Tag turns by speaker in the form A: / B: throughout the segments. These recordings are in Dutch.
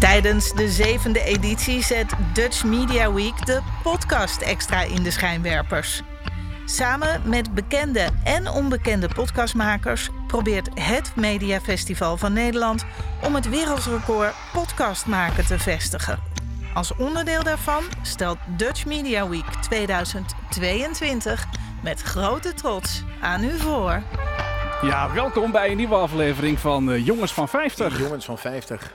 A: Tijdens de zevende editie zet Dutch Media Week de podcast extra in de schijnwerpers. Samen met bekende en onbekende podcastmakers probeert het Media Festival van Nederland om het wereldrecord podcast maken te vestigen. Als onderdeel daarvan stelt Dutch Media Week 2022 met grote trots aan u voor.
B: Ja, welkom bij een nieuwe aflevering van eh, Jongens van 50.
C: Jongens van 50.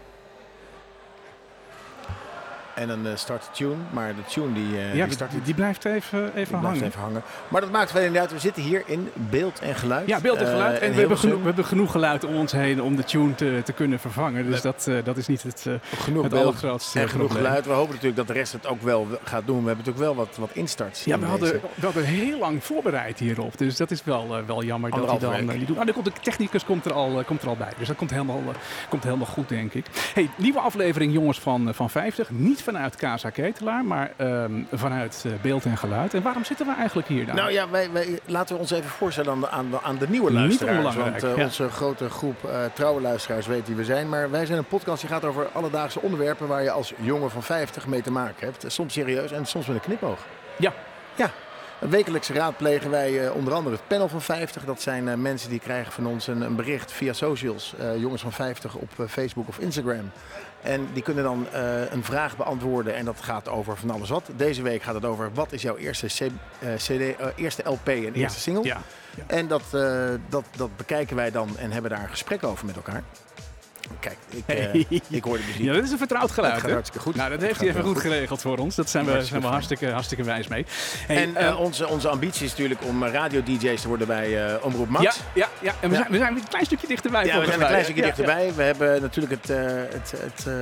C: En een eh, start tune, maar de tune die, eh,
B: Ja,
C: die start
B: die, die blijft even, even
C: die blijft
B: hangen.
C: even hangen. Maar dat maakt wel inderdaad, we zitten hier in beeld en geluid.
B: Ja, beeld en
C: Eh,
B: geluid. en we hebben,
C: Hilversum.
B: genoeg, we hebben genoeg geluid om ons heen om de tune te, te kunnen vervangen. Dus dat, eh, dat is niet het, eh,
C: genoeg
B: het
C: beeld
B: allergrootste
C: en genoeg
B: probleem.
C: geluid. We hopen natuurlijk dat de rest het ook wel gaat doen. We hebben natuurlijk wel wat, wat instarts.
B: Ja,
C: in
B: we hadden,
C: deze.
B: we hadden heel lang voorbereid hierop. Dus dat is wel, eh, wel jammer dat hij
C: Anderhalve
B: dan eh,
C: week.
B: niet doet. Maar de technicus komt er, al, eh, komt er al bij. Dus dat komt helemaal, eh, komt helemaal goed, denk ik. Hey, nieuwe aflevering Jongens van, eh, van 50. Niet vanuit Casa Ketelaar, maar ehm, vanuit eh, Beeld en Geluid. En waarom zitten we eigenlijk hier dan?
C: Nou ja, wij, wij, laten we ons even voorstellen aan de, aan de, aan de nieuwe
B: Niet
C: luisteraars.
B: onbelangrijk,
C: Want eh,
B: ja.
C: onze grote groep eh, trouwe luisteraars weet wie we zijn. Maar wij zijn een podcast die gaat over alledaagse onderwerpen waar je als jongen van 50 mee te maken hebt. Soms serieus en soms met een knipoog.
B: Ja.
C: Ja. Wekelijks raadplegen wij eh, onder andere het panel van 50. Dat zijn eh, mensen die krijgen van ons een, een bericht via socials. eh, jongens van 50 op eh, Facebook of Instagram. En die kunnen dan eh, een vraag beantwoorden. En dat gaat over van alles wat. Deze week gaat het over wat is jouw eerste, C- eh, CD, eh, eerste LP en
B: Ja,
C: eerste single.
B: Ja.
C: En dat, eh, dat, dat bekijken wij dan en hebben daar een gesprek over met elkaar. Kijk, ik, eh,
B: Hey.
C: ik hoor de muziek.
B: Ja, dat is een vertrouwd
C: het
B: geluid.
C: gaat
B: hè?
C: hartstikke goed.
B: Nou, dat
C: Het
B: heeft
C: gaat
B: hij even
C: heel
B: goed geregeld voor ons. Dat zijn we,
C: Hartstikke
B: zijn we hartstikke,
C: fijn.
B: hartstikke wijs mee. Hey,
C: En
B: ehm,
C: eh, onze, onze ambitie is natuurlijk om eh, radio-dj's te worden bij eh, Omroep Max.
B: ja, ja, ja, en we,
C: Ja.
B: Zijn, we zijn weer een klein stukje dichterbij.
C: Ja, we
B: volgens
C: zijn een
B: mij.
C: klein stukje
B: Ja, ja.
C: dichterbij. We hebben natuurlijk het, eh, het, het eh,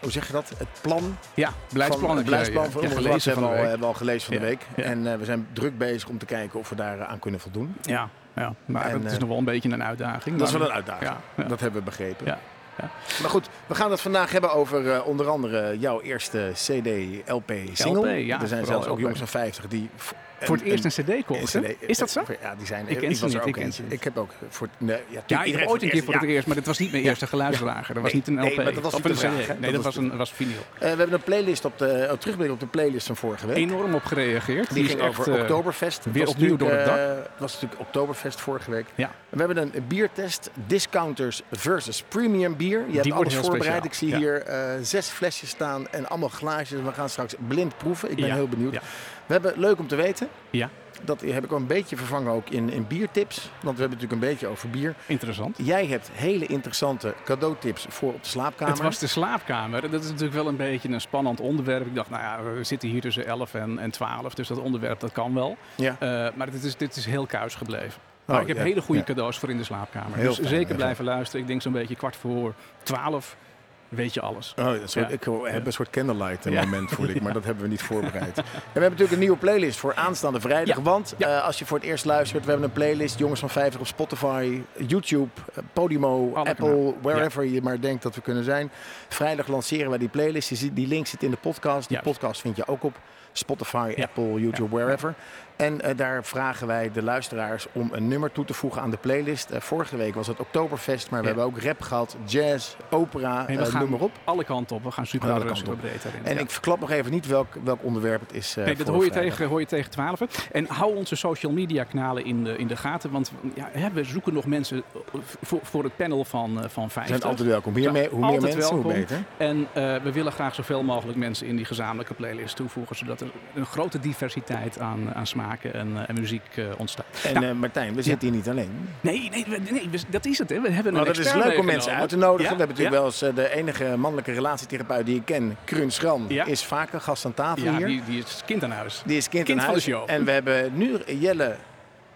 C: hoe zeg je dat? Het plan
B: Ja,
C: van,
B: beleidsplannen.
C: het beleidsplan van
B: ja,
C: Omroep Max
B: gelezen van de
C: hebben we al,
B: week.
C: hebben we al gelezen van de
B: Ja,
C: week.
B: ja.
C: En eh, we zijn druk bezig om te kijken of we daar eh, aan kunnen voldoen.
B: Ja, ja. maar
C: En,
B: het is
C: eh,
B: nog wel een beetje een uitdaging.
C: Dat is
B: maar-
C: wel een uitdaging.
B: Ja, ja.
C: Dat hebben we begrepen.
B: Ja, ja.
C: Maar goed, we gaan het vandaag hebben over eh, onder andere jouw eerste CD, LP, single.
B: LP, ja,
C: er zijn
B: vooral
C: zelfs ook
B: LP.
C: jongens van 50 die v-
B: Voor het
C: een-
B: eerst een cd kocht.
C: een CD
B: Is dat zo?
C: Ja, die zijn
B: Ik ken
C: ik
B: ze
C: was
B: niet, ik
C: er ook
B: ken ze
C: eentje.
B: niet.
C: Ik heb ook voor nee, ja,
B: Ja,
C: tuurlijk,
B: ik
C: iedereen
B: heb ooit een keer voor
C: ja.
B: het eerst, maar dat was niet mijn eerste geluidsdrager. Dat was niet een LP.
C: Nee, maar dat was
B: of
C: niet
B: een
C: een
B: CD.
C: drager.
B: Nee, dat
C: Dat
B: was
C: was
B: een, was vinyl.
C: Eh, we hebben een playlist op de oh, terugblik op de playlist van vorige week.
B: Enorm op gereageerd.
C: Die,
B: is
C: ging
B: echt,
C: over
B: eh,
C: Oktoberfest. Het
B: weer
C: was
B: opnieuw
C: natuurlijk,
B: door het
C: eh, Het was natuurlijk Oktoberfest vorige week.
B: Ja.
C: We hebben een biertest. Discounters versus premium bier. Je hebt
B: wordt
C: alles
B: heel speciaal,
C: voorbereid. Ik zie
B: ja.
C: hier eh, zes flesjes staan en allemaal glaasjes. We gaan straks blind proeven. Ik ben
B: Ja,
C: heel benieuwd.
B: ja.
C: We hebben leuk om te weten.
B: Ja.
C: Dat heb ik al een beetje vervangen ook in, in biertips. Want we hebben natuurlijk een beetje over bier.
B: Interessant.
C: Jij hebt hele interessante cadeautips voor op de slaapkamer.
B: Het was de slaapkamer. Dat is natuurlijk wel een beetje een spannend onderwerp. Ik dacht, nou ja, we zitten hier tussen 11 en, en 12, dus dat onderwerp dat kan wel.
C: ja.
B: Eh, maar dit is, dit is heel kuis gebleven. Maar
C: Oh,
B: ik heb
C: ja,
B: hele goede
C: ja.
B: cadeaus voor in de slaapkamer.
C: Heel
B: dus
C: fijn,
B: zeker
C: heel
B: blijven luisteren. Ik denk zo'n beetje kwart voor 12 weet je alles.
C: Oh, een soort,
B: Ja.
C: ik heb een soort candlelight eh,
B: Ja.
C: moment voel ik, maar dat hebben we niet voorbereid. En we hebben natuurlijk een nieuwe playlist voor aanstaande vrijdag.
B: Ja.
C: Want
B: Ja.
C: eh, als je voor het eerst luistert, we hebben een playlist Jongens van 50 op Spotify, YouTube, eh, Podimo,
B: Alle
C: Apple,
B: kanalen.
C: wherever je maar denkt dat we kunnen zijn. Vrijdag lanceren wij die playlist. Je ziet, die link zit in de podcast. Die
B: Juist.
C: podcast vind je ook op Spotify,
B: Ja.
C: Apple, YouTube, wherever. En eh, daar vragen wij de luisteraars om een nummer toe te voegen aan de playlist. Eh, vorige week was het Oktoberfest, maar we
B: Ja.
C: hebben ook rap gehad, jazz, opera,
B: Hey, we
C: eh,
B: gaan
C: noem maar op.
B: alle kanten op. We gaan super,
C: Alle kanten
B: super
C: op.
B: breed daarin.
C: En
B: Ja.
C: ik verklap nog even niet welk, welk onderwerp het is. eh,
B: Nee, dat
C: voor
B: hoor je,
C: vrijdag.
B: tegen, hoor je tegen 12. En hou onze social media kanalen in de, in de gaten. Want ja, hè, we zoeken nog mensen eh, voor, voor het panel van, eh, van
C: Ze zijn
B: 50.
C: altijd welkom. Hoe meer,
B: Zijn
C: me- hoe meer
B: altijd
C: mensen, hoe
B: welkom.
C: beter.
B: En eh, we willen graag zoveel mogelijk mensen in die gezamenlijke playlist toevoegen. Zodat er een grote diversiteit aan, aan smaken en, eh, en muziek eh, ontstaat.
C: En
B: Nou,
C: eh, Martijn, we zitten hier niet alleen.
B: nee, nee, we- nee, we- dat is het. Hè. We hebben
C: Maar
B: een
C: dat is
B: expert
C: leuk om mensen uit te
B: meegenomen. Ja,
C: nodigen. We hebben natuurlijk
B: ja.
C: wel eens eh, de enige mannelijke relatietherapeut die ik ken, Kruun Schram,
B: Ja.
C: is vaker gast aan tafel
B: Ja,
C: hier. Die,
B: die, die is kind aan huis.
C: is kind,
B: kind
C: aan
B: van de
C: huis.
B: show.
C: En we hebben nu Jelle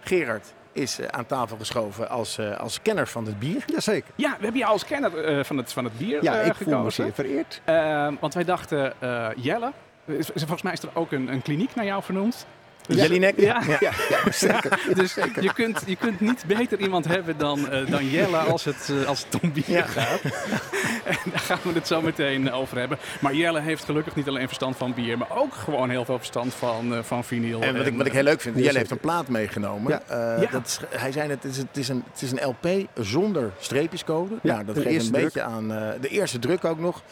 C: Gerard is eh, aan tafel geschoven als, eh, als kenner van het bier.
D: Jazeker.
B: Ja, we hebben je als kenner eh, van, het, van het bier
D: Ja,
B: eh,
D: ik voel me
B: gekozen.
D: zeer vereerd.
B: Eh, want wij dachten, eh, Jelle, is- is- volgens mij is er ook een, een kliniek naar jou vernoemd. Dus-
C: Jellinek?
B: Ja.
D: Ja, ja zeker.
B: Dus je kunt, je kunt niet beter iemand hebben dan, eh, dan Jelle als het, eh, als het om bier
C: Ja.
B: gaat. En daar gaan we het zo meteen over hebben. Maar Jelle heeft gelukkig niet alleen verstand van bier, maar ook gewoon heel veel verstand van, eh, van vinyl. eh,
C: En wat ik, wat ik heel leuk vind, Jelle heeft een plaat meegenomen.
D: eh, dus Ja.
C: Eh,
B: Ja.
C: Dat is, hij zei net, het is, het, is een, het is een LP zonder streepjescode.
D: Ja,
C: nou, dat
D: de
C: geeft een
D: eerste druk.
C: beetje aan eh, de eerste druk ook nog.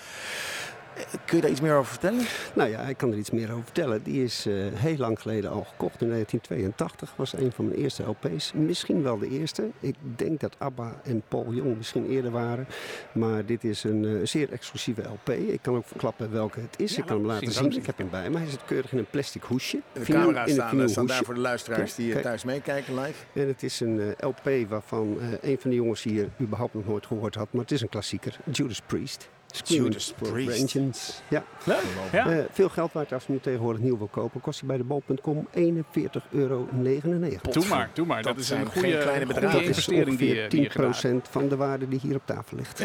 C: Kun je daar iets meer over vertellen?
D: Nou ja, ik kan er iets meer over vertellen. Die is eh, heel lang geleden al gekocht. In 1982 was een van mijn eerste LP's. Misschien wel de eerste. Ik denk dat ABBA en Paul Jong misschien eerder waren. Maar dit is een eh, zeer exclusieve LP. Ik kan ook verklappen welke het is.
B: Ja,
D: ik kan hem
B: laat
D: laten
B: zien,
D: zien.
B: laat
D: Ik heb hem bij me. Hij zit keurig in een plastic hoesje.
C: De
D: Vinyl-
C: camera's
D: in een
C: staan, eh,
D: vinyl
C: staan daar
D: hoesje.
C: voor de luisteraars die eh,
D: Kijk.
C: thuis meekijken live.
D: En het is een eh, LP waarvan eh, een van de jongens hier überhaupt nog nooit gehoord had. Maar het is een klassieker. Judas Priest. Screaming
C: Judas
D: for
C: Priest.
D: Vengeance. Ja.
B: Leuk. Ja.
D: Eh, veel geld waard als je nu tegenwoordig nieuw wil kopen. Kost hij bij de bol.com 41,99 euro.
B: doe maar, doe maar. Dat,
C: Dat
B: is
C: zijn
B: een goede,
C: geen kleine
B: een goede
C: bedragen.
D: Dat is
B: investering die
D: ongeveer
B: je, die je gedaan
D: 10% van de waarde die hier op tafel ligt.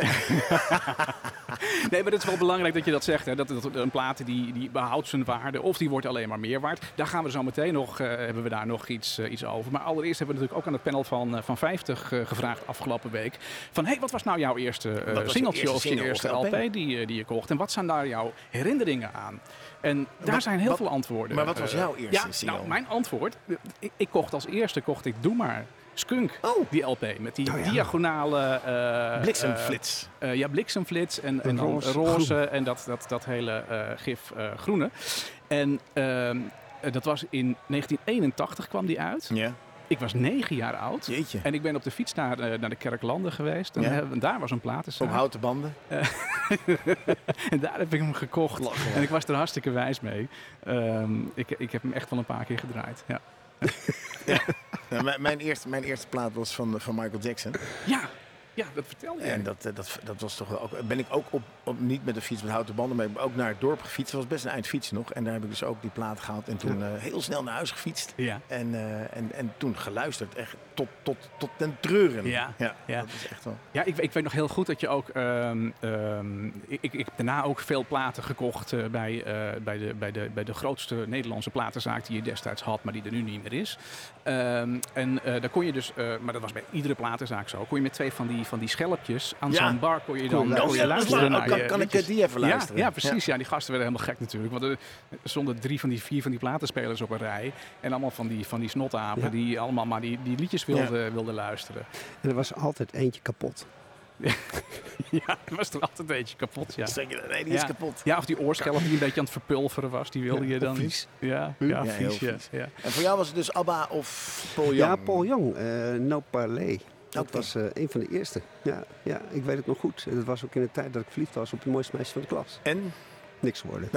B: Nee, maar het is wel belangrijk dat je dat zegt. Hè? Dat, dat een plaat die, die behoudt zijn waarde of die wordt alleen maar meer waard. Daar gaan we zo meteen nog, eh, hebben we daar nog iets, eh, iets over. Maar allereerst hebben we natuurlijk ook aan het panel van, eh, van 50 eh, gevraagd afgelopen week. Van hé, hey, wat was nou jouw eerste eh,
C: was je
B: singeltje
C: eerste
B: of je
C: single of
B: eerste
C: LP?
B: LP die, eh, die je kocht? En wat zijn daar jouw herinneringen aan? En daar
C: Wat-
B: zijn heel
C: wat-
B: veel antwoorden.
C: maar wat was
B: eh,
C: jouw eerste
B: ja,
C: single?
B: Nou, mijn antwoord. eh, Ik, ik kocht als eerste, kocht ik Doe Maar, Skunk,
D: Oh.
B: die LP. Met die
D: Oh ja.
B: diagonale... eh, eh,
C: Bliksemflits.
B: eh, ja, bliksemflits en, en dan
D: Roze,
B: roze, en dat, dat, dat hele eh, gif eh, groene. En ehm, eh, dat was in 1981 kwam die uit.
C: ja.
B: Ik was negen jaar oud.
C: Jeetje.
B: En ik ben op de fiets naar, eh, naar de Kerklanden geweest. En
C: Ja.
B: hebben- daar was een
C: Op
B: platenzaak.
C: houten banden.
B: En daar heb ik hem gekocht. En ik was er hartstikke wijs mee. Ehm, ik, ik heb hem echt wel een paar keer gedraaid. Ja,
C: Ja, mijn, mijn, eerste, mijn eerste plaat was van, van Michael Jackson.
B: ja, ja dat vertel je.
C: En dat, eh, dat, dat was toch wel ook. Ben ik ook op, op, niet met de fiets met houten banden, maar ik ben ook naar het dorp gefietst. Dat was best een eind fietsen nog. En daar heb ik dus ook die plaat gehaald. En toen eh, heel snel naar huis gefietst.
B: ja.
C: En, eh, en, en toen geluisterd. Echt tot, tot, tot ten treuren.
B: Ja,
C: ja,
B: ja.
C: Dat is echt wel.
B: Ja, ik, ik weet nog heel goed dat je ook. ehm, ehm, ik, ik, ik heb daarna ook veel platen gekocht eh, bij, eh, bij, de, bij, de, bij de grootste Nederlandse platenzaak die je destijds had, maar die er nu niet meer is. Ehm, en eh, daar kon je dus, eh, maar dat was bij iedere platenzaak zo, kon je met twee van die, van die schelpjes aan
C: Ja.
B: zo'n bar kon je
D: Kon
B: dan
D: je
B: kon
D: Oh,
B: je
D: ja, dat is
B: luisteren
D: waar.
B: naar
C: Nou, kan,
B: je
C: kan ik eh,
B: liedjes.
C: die even
B: Ja,
C: luisteren?
B: ja, precies. Ja. die gasten werden helemaal gek natuurlijk. Want er stonden drie van die vier van die platenspelers op een rij. En allemaal van die, van die snotapen
D: Ja.
B: die allemaal maar die, die liedjes wilden, wilden luisteren.
D: En er was altijd eentje kapot.
B: Ja, er was er altijd eentje kapot. Ja.
C: Ja. Zeg je, Nee, die is
B: Ja.
C: kapot.
B: Ja, of die oorschelp die een beetje aan het verpulveren was, die wilde je dan.
D: vies.
B: Ja, ja,
C: Ja, heel
B: vies, ja,
C: vies.
B: ja.
C: En voor jou was het dus ABBA of Paul Young?
D: Ja, Paul Jong, eh No Parley. Dat
C: Oké.
D: was eh, een van de eerste. Ja, ja, ik weet het nog goed. Dat was ook in de tijd dat ik verliefd was op het mooiste meisje van de klas.
C: En?
D: Niks geworden.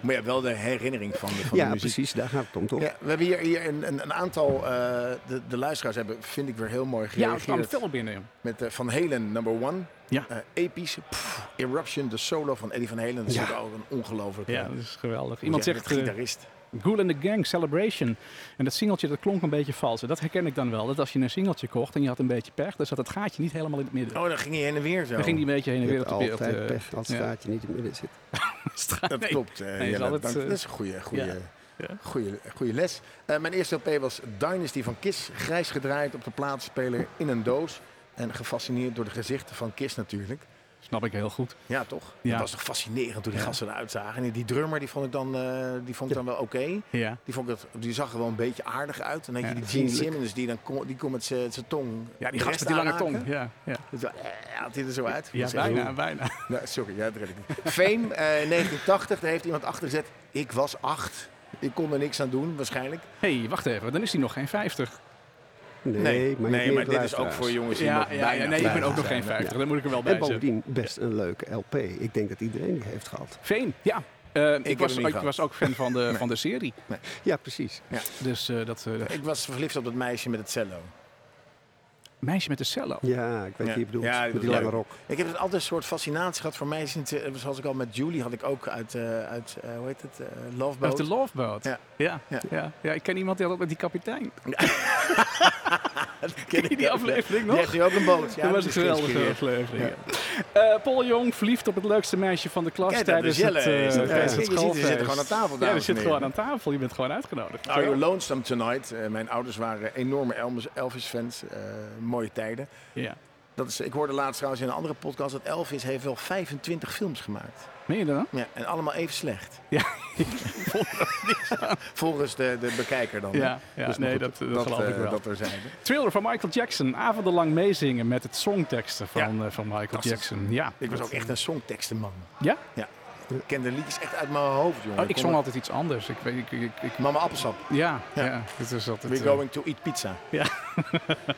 C: Maar ja, wel de herinnering van de, van
D: ja,
C: de muziek.
D: precies. Daar gaat het om, toch?
C: Ja, we hebben hier, hier een, een, een aantal, eh, de, de luisteraars hebben, vind ik weer heel mooi
B: ja het kwam
C: gereageerd.
B: veel binnen.
C: met eh, Van Helen, number one.
B: Ja.
C: Eh, epische, pff, Eruption, de solo van Eddie Van Helen. Dat is
D: Ja.
C: natuurlijk ook een eh, ongelooflijke...
B: Ja, dat is geweldig. Iemand
C: Ja,
B: zegt
C: met
B: eh
C: gitarist.
B: Ghoul and the Gang Celebration. En dat singeltje dat klonk een beetje vals. En dat herken ik dan wel. Dat als je een singeltje kocht en je had een beetje pech, dan zat het gaatje niet helemaal in het midden.
C: Oh, dan ging hij heen en weer zo.
B: Dan ging die een beetje heen en
D: Je
B: weer
D: hebt
B: op de wereld.
D: altijd pech als het
B: eh, ja.
D: staartje niet in het midden zit.
C: Dat klopt. eh,
B: hij is
C: Jelle,
B: altijd,
C: dank-
B: eh,
C: dat is een goede, goede,
B: ja. Ja.
C: goede, goede les. Eh, mijn eerste LP was Dynasty van Kiss. Grijs gedraaid op de plaatspeler in een doos. En gefascineerd door de gezichten van Kiss natuurlijk.
B: Snap ik heel goed.
C: Ja, toch?
B: Ja.
C: Dat was toch fascinerend toen die
B: Ja.
C: gasten eruit zagen. En die drummer die vond ik dan, eh, die vond ik dan wel oké.
B: Ja.
C: Die, vond ik dat, die zag er wel een beetje aardig uit. En dan had je
B: Ja,
C: die Gene
D: vriendelijk.
C: Simmons die, dan kon, die kon met zijn tong.
B: Ja, die
C: de
B: gast
C: rest
B: met die lange
C: aanraken.
B: tong. Ja, ja.
C: Dat was- eh, had hij er zo uit?
B: ja
C: Dat is echt
B: bijna, bijna.
C: nou, sorry, ja, dat red ik niet. Fame, eh 1980, daar heeft iemand achter gezet. Ik was acht. Ik kon er niks aan doen, waarschijnlijk.
B: Hé, hey, wacht even. Dan is hij nog geen 50.
D: Nee, maar, je hebt meer luisteraars.
C: jongens
B: Ja, ja, ja, nee, ik ben
D: bijna
B: ook nog geen
C: zijn.
B: 50. Dan moet ik er wel bij
D: En
B: zijn.
D: bovendien best een leuke LP. Ik denk dat iedereen die heeft gehad.
B: Veen, ja. Eh, ik,
C: heb
B: was,
C: hem niet
B: ik
C: gehad.
B: was ook fan van de, van de serie.
D: Ja, precies.
B: Dus eh, dat eh, dat
C: Ik was verliefd op dat meisje met het cello.
B: meisje met de cello.
D: Ja, ik weet
C: Ja.
D: wie je bedoelt.
C: Ja, die
D: met die
C: was
D: lange
C: leuk.
D: rok.
C: Ik heb altijd een soort fascinatie gehad voor meisjes. Het, eh, Zoals ik al met Julie had ik ook uit, eh, uit eh, hoe heet het, eh, Love
B: Dat is
C: Boat.
B: de loveboat.
C: Ja.
B: Ja. Ja.
C: Ja.
B: Ja. Ja. ik ken iemand die had ook met die kapitein.
C: Dat
B: Ken je die aflevering
C: Die
B: nog?
C: heeft nu ook een boot. Ja,
B: dat was een
C: is
B: geweldige
C: geïnspireerd.
B: aflevering. ja. Eh, Paul Jong verliefd op het leukste meisje van de klas
C: Kijk, dat
B: tijdens
C: is Jelle.
B: het, eh,
C: is dat.
D: tijdens
C: Ja,
B: het
C: je ziet,
B: schoolfeest.
C: ze zitten gewoon aan tafel,
B: Ja, we
C: dames en
B: zitten gewoon
C: heren.
B: aan tafel. Je bent gewoon uitgenodigd.
C: Are You Nou, Lonesome Tonight. Eh, mijn ouders waren enorme Elvis- Elvis-fans. eh, mooie tijden.
B: Ja.
C: Dat is, ik hoorde laatst trouwens in een andere podcast dat Elvis heeft wel 25 films gemaakt.
B: Meen je dat? dan?
C: Ja, en allemaal even slecht.
B: Ja.
C: Volgens de, de bekijker dan. hè?
B: Ja, ja,
C: maar
B: nee,
C: goed,
B: dat- dat geloof ik
C: eh,
B: wel.
C: Dat er zijn.
B: Thriller van Michael Jackson. Avondenlang meezingen met het songteksten van, eh, van Michael
C: Fantastisch.
B: Jackson. Ja.
C: Ik was ook echt een songtekstenman.
B: Ja?
C: Ja. Ik kende liedjes echt uit mijn hoofd, jongen.
B: Oh, ik
C: kon
B: zong
C: het-
B: altijd iets anders. Ik, weet- ik, ik, ik-
C: Mama Appelsap.
B: ja, ja.
C: Ja.
B: dit is altijd...
C: We're
B: eh,
C: going to eat pizza.
B: Ja.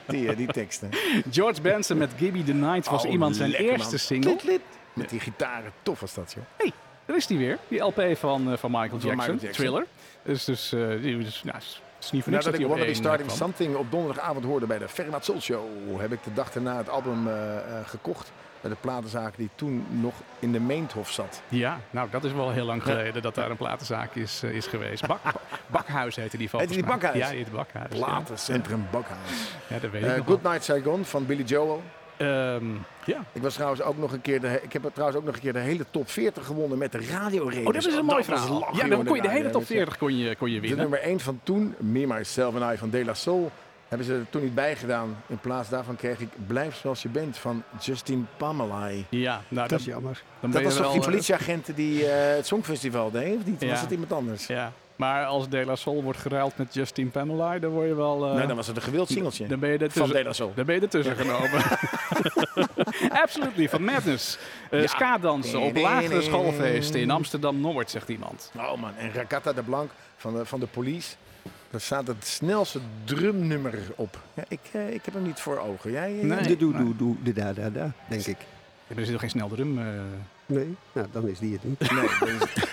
C: Die, eh, die teksten.
B: George Benson met Gibby the Night was
C: Oh,
B: iemand zijn
C: lekker,
B: eerste
C: man.
B: single.
C: Klit, klit. Met die gitaren. Tof was dat, joh.
B: hey, daar is die weer. Die LP van, eh, van, Michael, Jackson,
C: Michael Jackson.
B: Thriller. Dus, dus, eh, die- dus nou, is- is niet voor niks
C: Nadat ik
B: die op
C: Wanna Be
B: één, eh,
C: Starting
B: kwam.
C: Something op donderdagavond hoorde bij de Fermat Soul Show, heb ik de dag daarna het album eh, eh, gekocht. Bij de platenzaak die toen nog in de Meenthof zat.
B: Ja, nou dat is wel heel lang geleden dat daar een platenzaak is, eh, is geweest. Bak, Bakhuis heette die van.
C: Heette die Bakhuis?
B: Ja, die heette Bakhuis. ja.
C: Platencentrum Bakhuis.
B: Ja, dat weet
C: Eh
B: ik nog wel.
C: Goodnight Saigon van Billy Joel.
B: Ehm, ja.
C: Ik, was trouwens ook nog een keer de, he- ik heb er trouwens ook nog een keer de hele top 40 gewonnen met de radio
B: Oh, dat is een mooi verhaal. ja, dan kon je de hele top 40 kon je, kon je
C: De
B: winnen.
C: nummer 1 van toen, Me, Myself en I van De La Soul, hebben ze er toen niet bij gedaan. In plaats daarvan kreeg ik Blijf Zoals Je Bent van Justin Pamelai.
B: Ja, nou,
D: Dat
B: dan,
D: is jammer.
B: dan ben
C: Dat
B: je
C: was toch
B: wel,
C: die
B: eh,
C: politieagent die eh, het Songfestival deed, of niet?
B: Ja.
C: Was dat iemand anders?
B: Ja, maar als De La Soul wordt geruild met Justin Pamela, dan word je wel... eh,
C: nee, dan was het een gewild singeltje.
B: Dan ben je er
C: van
B: tussen-
C: De La Soul.
B: dan ben je ertussen genomen. Absolutely, van Madness. Eh
C: Ja.
B: Ska-dansen op lagere schoolfeesten in Amsterdam-Noord, zegt iemand.
C: Oh man, en Rakata de Blanc van de, van de police. Daar staat het snelste drumnummer op. Ja, ik, eh, ik heb hem niet voor ogen. Jij? eh,
B: Nee.
D: De doe, doe, doe, de da, da, da, denk ik.
B: Ja, maar er zit toch geen snel drum... eh.
D: Nee? Nou, dan is die het niet.
C: Nee, dat is-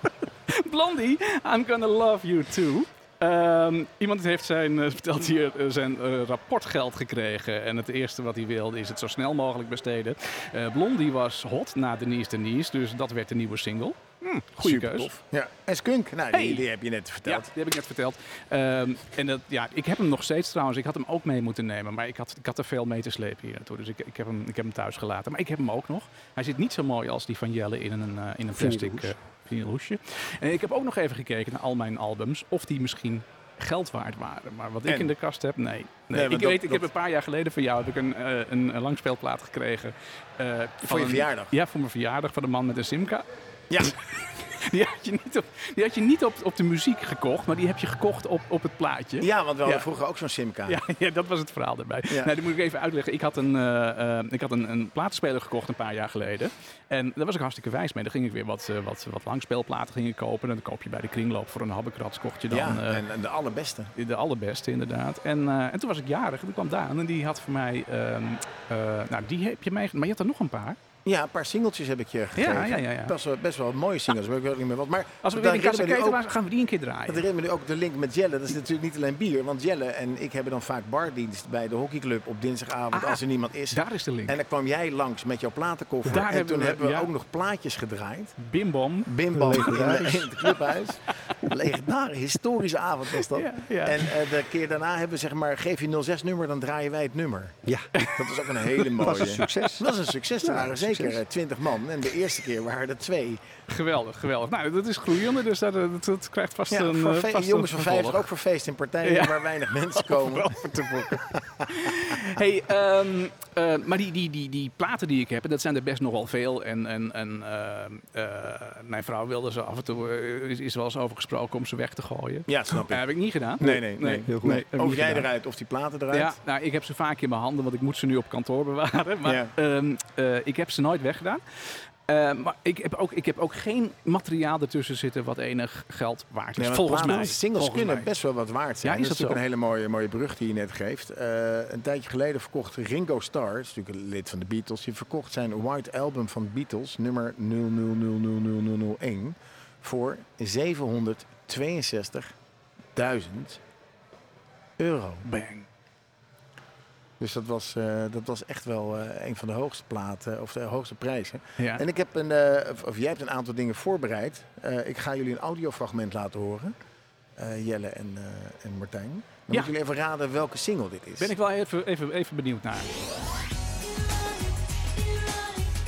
B: Blondie, I'm gonna love you too. Ehm, iemand heeft zijn, eh, vertelt hier, eh, zijn eh, rapportgeld gekregen. En het eerste wat hij wilde is het zo snel mogelijk besteden. Eh, Blondie was hot na Denise Denise, dus dat werd de nieuwe single. Hm, goede
C: Super
B: keus.
C: tof. Ja. En Skunk, nou,
B: Hey.
C: die, die heb je net
B: Ja,
C: verteld.
B: die heb ik net verteld. Ehm, en dat, ja, ik heb hem nog steeds trouwens. Ik had hem ook mee moeten nemen. Maar ik had, ik had er veel mee te slepen hier naartoe. Dus ik, ik, heb hem, ik heb hem thuis gelaten. Maar ik heb hem ook nog. Hij zit niet zo mooi als die van Jelle in een, eh, in een plastic eh,
D: Vinylhoes.
B: vinylhoesje. En ik heb ook nog even gekeken naar al mijn albums. Of die misschien geld waard waren. Maar wat ik
C: En?
B: in de kast heb, nee. nee, ik
C: want
B: weet,
C: dat-
B: ik heb
C: dat-
B: een paar jaar geleden van jou heb ik een, eh, een, een langspeelplaat gekregen. eh, van
C: je
B: een-
C: verjaardag?
B: Ja, voor mijn verjaardag van de man met een simka.
C: Ja.
B: Die had je niet op, die had je niet op, op de muziek gekocht, maar die heb je gekocht op, op het plaatje.
C: ja, want we hadden
B: Ja.
C: vroeger ook zo'n simkaart.
B: Ja, ja, dat was het verhaal daarbij.
C: Ja.
B: Nou, dat moet ik even uitleggen. Ik had, een, eh, eh, ik had een, een plaatspeler gekocht een paar jaar geleden. En daar was ik hartstikke wijs mee. Dan ging ik weer wat, eh, wat, wat langspeelplaten gingen kopen. En dan koop je bij de kringloop voor een habbekrats. Kocht je dan
C: Ja,
B: eh,
C: en, en de allerbeste.
B: de allerbeste inderdaad. En, eh, en toen was ik jarig en toen kwam Daan. En die had voor mij... ehm, eh, nou, die heb je meegenomen. Maar je had er nog een paar.
C: Ja, een paar singeltjes heb ik je gegeven.
B: ja, ja, ja.
C: Best, wel, best wel mooie singles, maar ik weet ook niet meer wat. Maar
B: Als we
C: dan
B: weer in Casa
C: herinner me nu ook-
B: Ketel gaan we die een keer draaien.
C: Dat herinnert me nu ook de link met Jelle. Dat is natuurlijk niet alleen bier. Want Jelle en ik hebben dan vaak bardienst bij de hockeyclub op dinsdagavond
B: Ah,
C: als er niemand is.
B: Daar is de link.
C: En dan kwam jij langs met jouw platenkoffer.
B: Daar
C: en
B: hebben
C: toen
B: we-
C: hebben we
B: ja.
C: ook nog plaatjes gedraaid.
B: Bimbom.
C: Bimbal in, de- in het clubhuis. Legendare, historische avond was dat.
B: Ja, ja.
C: En eh, de keer daarna hebben we zeg maar, geef je 06 nummer, dan draaien wij het nummer.
D: Ja,
C: Dat was ook een hele mooie.
D: was een succes.
C: Oh, Dat was een succes. Er
D: Ja,
C: waren
D: een
C: zeker
D: succes.
C: eh, 20 man. En de eerste keer waren er twee.
B: Geweldig, geweldig. Nou, dat is groeiende, dus dat, dat, dat krijgt vast
C: Ja,
B: een
C: voor
B: eh,
C: fe-
B: vast
C: jongens
B: een
C: van 50,
B: vervolg.
C: ook voor feest en partijen
B: Ja.
C: waar weinig mensen komen.
B: Wel voor te boeken. hey, ehm, eh, maar die, die, die, die platen die ik heb, en dat zijn er best nogal veel. En, en, en ehm, eh, mijn vrouw wilde ze af en toe, eh, is, is wel eens over gesproken om ze weg te gooien.
C: Ja, snap
B: Dat heb ik niet gedaan.
C: Nee, nee, nee.
D: heel goed.
B: Nee, heb ik
C: Of
B: niet
C: jij
B: gedaan.
C: eruit of die platen eruit.
B: Ja, nou, ik heb ze vaak in mijn handen, want ik moet ze nu op kantoor bewaren. Maar
C: Ja.
B: ehm, eh, ik heb ze nooit weggedaan. Eh, maar ik heb, ook, ik heb ook geen materiaal ertussen zitten wat enig geld waard is.
C: maar
B: volgens
C: platen-
B: mij.
C: Singles
B: Volgens
C: kunnen
B: mij.
C: best wel wat waard zijn.
B: Ja, is
C: dat,
B: dat
C: is ook
B: zo?
C: een hele mooie, mooie brug die je net geeft. Eh, een tijdje geleden verkocht Ringo Starr, is natuurlijk een lid van de Beatles, die verkocht zijn White Album van Beatles, nummer 0000001, voor 762.000 euro.
B: Bang.
C: Dus dat was, eh, dat was echt wel eh, een van de hoogste platen, of de hoogste prijzen.
B: Ja.
C: En ik heb een, eh, of, of jij hebt een aantal dingen voorbereid. Eh, ik ga jullie een audiofragment laten horen. Eh, Jelle en, eh, en Martijn. Dan moeten jullie even raden welke single dit is.
B: Ben ik wel even, even, even benieuwd naar.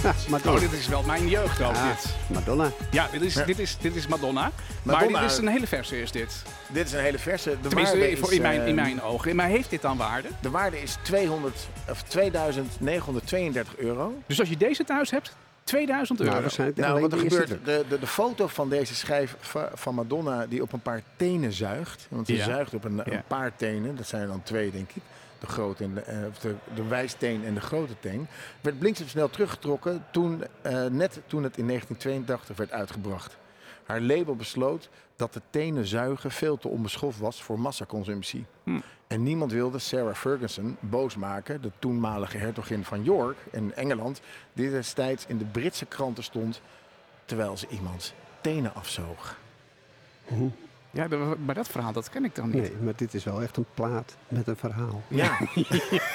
E: Erotic, erotic,
D: Ja, Madonna.
B: Oh, dit is wel mijn jeugd ook. Dit.
D: Ah, Madonna.
B: Ja, dit is,
C: Ja.
B: Dit, is, dit is Madonna.
C: Madonna-
B: Maar dit is een hele verse is dit.
C: Dit is een hele verse. De waarde
B: Tenminste,
C: is,
B: voor in, mijn, in
C: eh,
B: mijn ogen. Maar heeft dit dan waarde?
C: De waarde is 200, of 2.932 euro.
B: Dus als je deze thuis hebt, 2000 euro.
D: Nou, waarschijnlijk
C: Nou,
D: alleen
C: wat er
D: de eerste
C: gebeurt, de, de, de foto van deze schijf va- van Madonna die op een paar tenen zuigt. Want ze
B: Ja.
C: zuigt op een,
B: Ja.
C: een paar tenen, dat zijn er dan twee denk ik. De, grote en de, eh, of de, de wijsteen en de grote teen. Werd bliksemsnel teruggetrokken toen, eh, net toen het in 1982 werd uitgebracht. Haar label besloot dat de tenen zuigen veel te onbeschoft was voor massaconsumptie.
B: Hm.
C: En niemand wilde Sarah Ferguson boos maken, de toenmalige hertogin van York in Engeland, die destijds in de Britse kranten stond terwijl ze iemands tenen afzoog.
B: Ja, dat- maar dat verhaal, dat ken ik dan niet.
D: Nee, maar dit is wel echt een plaat met een verhaal.
C: Ja.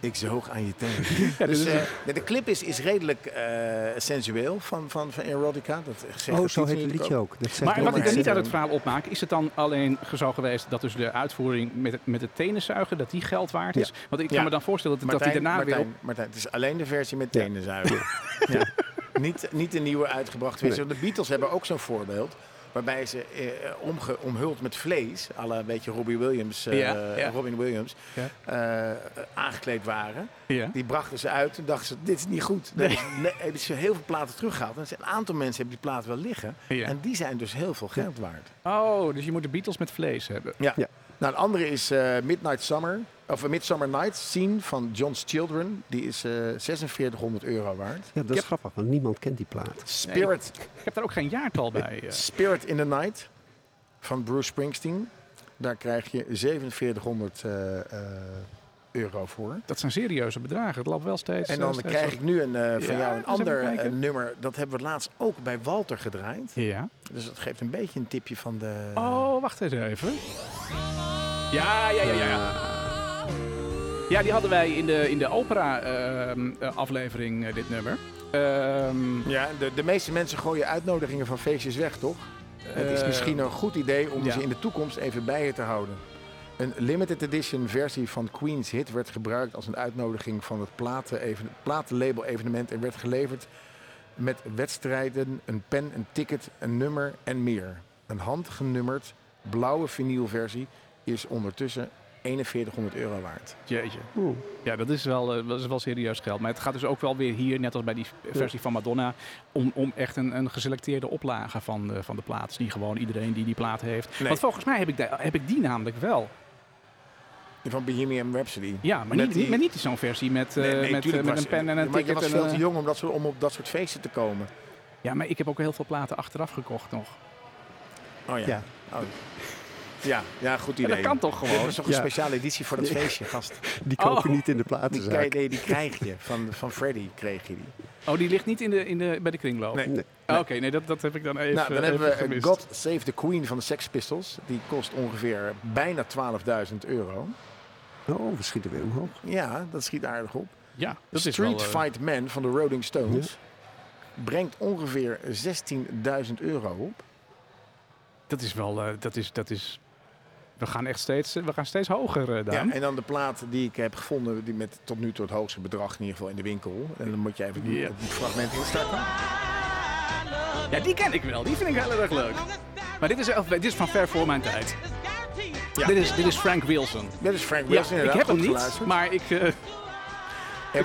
C: Ik zoog aan je tenen.
B: dit
C: dus,
B: is
C: eh, de- de clip is, is redelijk eh, sensueel van, van, van Erotica. Dat zegt
D: Oh,
C: het
D: zo heet het
C: natuurlijk
D: liedje ook. Dat zegt
B: Maar
D: wel
B: wat ik
D: iets.
B: er
C: maar-
B: niet uit het verhaal opmaak, is het dan alleen ge- zo geweest dat dus de uitvoering met het, met het tenenzuigen, dat die geld waard is? Want ik kan
C: Ja.
B: me dan voorstellen dat, dat
C: Martijn,
B: die daarna
C: Martijn,
B: weer op...
C: Martijn, het is alleen de versie met
D: Ja.
C: tenen zuigen. Ja. Niet, niet de nieuwe uitgebracht versie. De Beatles hebben ook zo'n voorbeeld. Waarbij ze eh, omge, omhuld met vlees, à la een beetje Robbie Williams, eh,
B: Ja, ja.
C: Robin Williams, eh, aangekleed waren.
B: Ja.
C: Die brachten ze uit en dachten ze, dit is niet goed. Daar is- nee, hebben ze heel veel platen teruggehaald. En er zijn een aantal mensen hebben die platen wel liggen.
B: Ja.
C: En die zijn dus heel veel geld waard.
B: Oh, dus je moet de Beatles met vlees hebben.
C: Ja.
D: Ja.
C: Nou, een andere is eh, Midnight Summer, of eh, Midsummer Night's Scene van John's Children. Die is eh 4600 euro waard.
D: Ja, dat is
B: Yep.
D: grappig, want niemand kent die plaat.
C: Spirit,
B: Ik heb daar ook geen jaartal bij. eh.
C: Spirit in the Night van Bruce Springsteen. Daar krijg je 4700 eh, eh, euro voor.
B: Dat zijn serieuze bedragen. Het loopt wel steeds...
C: En dan
B: eh, steeds
C: krijg ik nu een, eh, van
B: Ja,
C: jou een
B: eens
C: ander
B: even kijken.
C: eh, nummer. Dat hebben we laatst ook bij Walter gedraaid.
B: op. Ja.
C: Dus dat geeft een beetje een tipje van de...
B: Oh, wacht eens even. Ja, ja, ja, ja. ja. Ja, die hadden wij in de, ehm, in de opera-aflevering, eh, dit nummer. Ehm,
C: Ja, de, de meeste mensen gooien uitnodigingen van feestjes weg, toch? Het is
B: Eh,
C: misschien een goed idee om
B: ja.
C: ze in de toekomst even bij je te houden. Een limited edition versie van Queen's Hit werd gebruikt als een uitnodiging van het platen even, platenlabel evenement en werd geleverd met wedstrijden, een pen, een ticket, een nummer en meer. Een handgenummerd blauwe vinylversie is ondertussen 4100 euro waard.
B: Jeetje.
D: Oeh.
B: Ja, dat is, wel, eh, dat is wel serieus geld. Maar het gaat dus ook wel weer hier, net als bij die versie van Madonna, om, om echt een, een geselecteerde oplage van de, van de plaats. Die gewoon iedereen die die plaat heeft. Want volgens mij heb ik, da- heb ik die namelijk wel.
C: Van Bohemian Rhapsody.
B: Ja, maar
C: Met
B: niet,
C: die-
B: maar niet zo'n versie met, eh,
C: Nee, nee,
B: met, eh,
C: tuurlijk
B: met
C: was-
B: een pen en een
C: maar
B: ticket.
C: je was
B: en,
C: veel
B: eh,
C: te jong om, dat soort, om op dat soort feesten te komen.
B: ja, maar ik heb ook heel veel platen achteraf gekocht nog.
C: Oh ja.
D: Ja.
C: Oh. Ja, ja, goed idee.
B: dat kan toch
C: Dit
B: gewoon?
C: was toch een
D: Ja.
C: speciale editie voor dat feestje, gast.
D: Die
B: Oh.
D: koop je niet in de
C: Die, krijg,
D: platenzaak.
C: nee, die krijg je. Van, van Freddy kreeg je die.
B: Oh, die ligt niet in de, in de, bij de kringloop?
C: Nee.
B: Oh, Oké, nee, dat, dat heb ik dan even
C: nou, dan
B: even
C: hebben we eh,
B: gemist.
C: God Save the Queen van de Sex Pistols. Die kost ongeveer bijna 12.000 euro.
D: Oh, we schieten weer omhoog.
C: Ja, dat schiet aardig op.
B: Ja, dat is
C: Street
B: wel, eh,
C: Fight Man van de Rolling Stones. Brengt ongeveer 16.000 euro op.
B: Dat is wel... eh, dat is, dat is, we gaan echt steeds, we gaan steeds hoger, eh Daan.
C: Ja, en dan de plaat die ik heb gevonden, die met tot nu toe het hoogste bedrag in ieder geval in de winkel. En dan moet je even
B: Ja.
C: het fragment instarten.
B: Ja, die ken ik wel. Die vind ik heel erg leuk. Maar dit is, eh, dit is van ver voor mijn tijd.
C: Ja.
B: Dit, is, dit is Frank Wilson.
C: Dit is Frank
B: Ja,
C: Wilson.
B: ik
C: inderdaad,
B: heb hem
C: goed
B: niet,
C: geluisterd.
B: maar ik... eh,
C: Er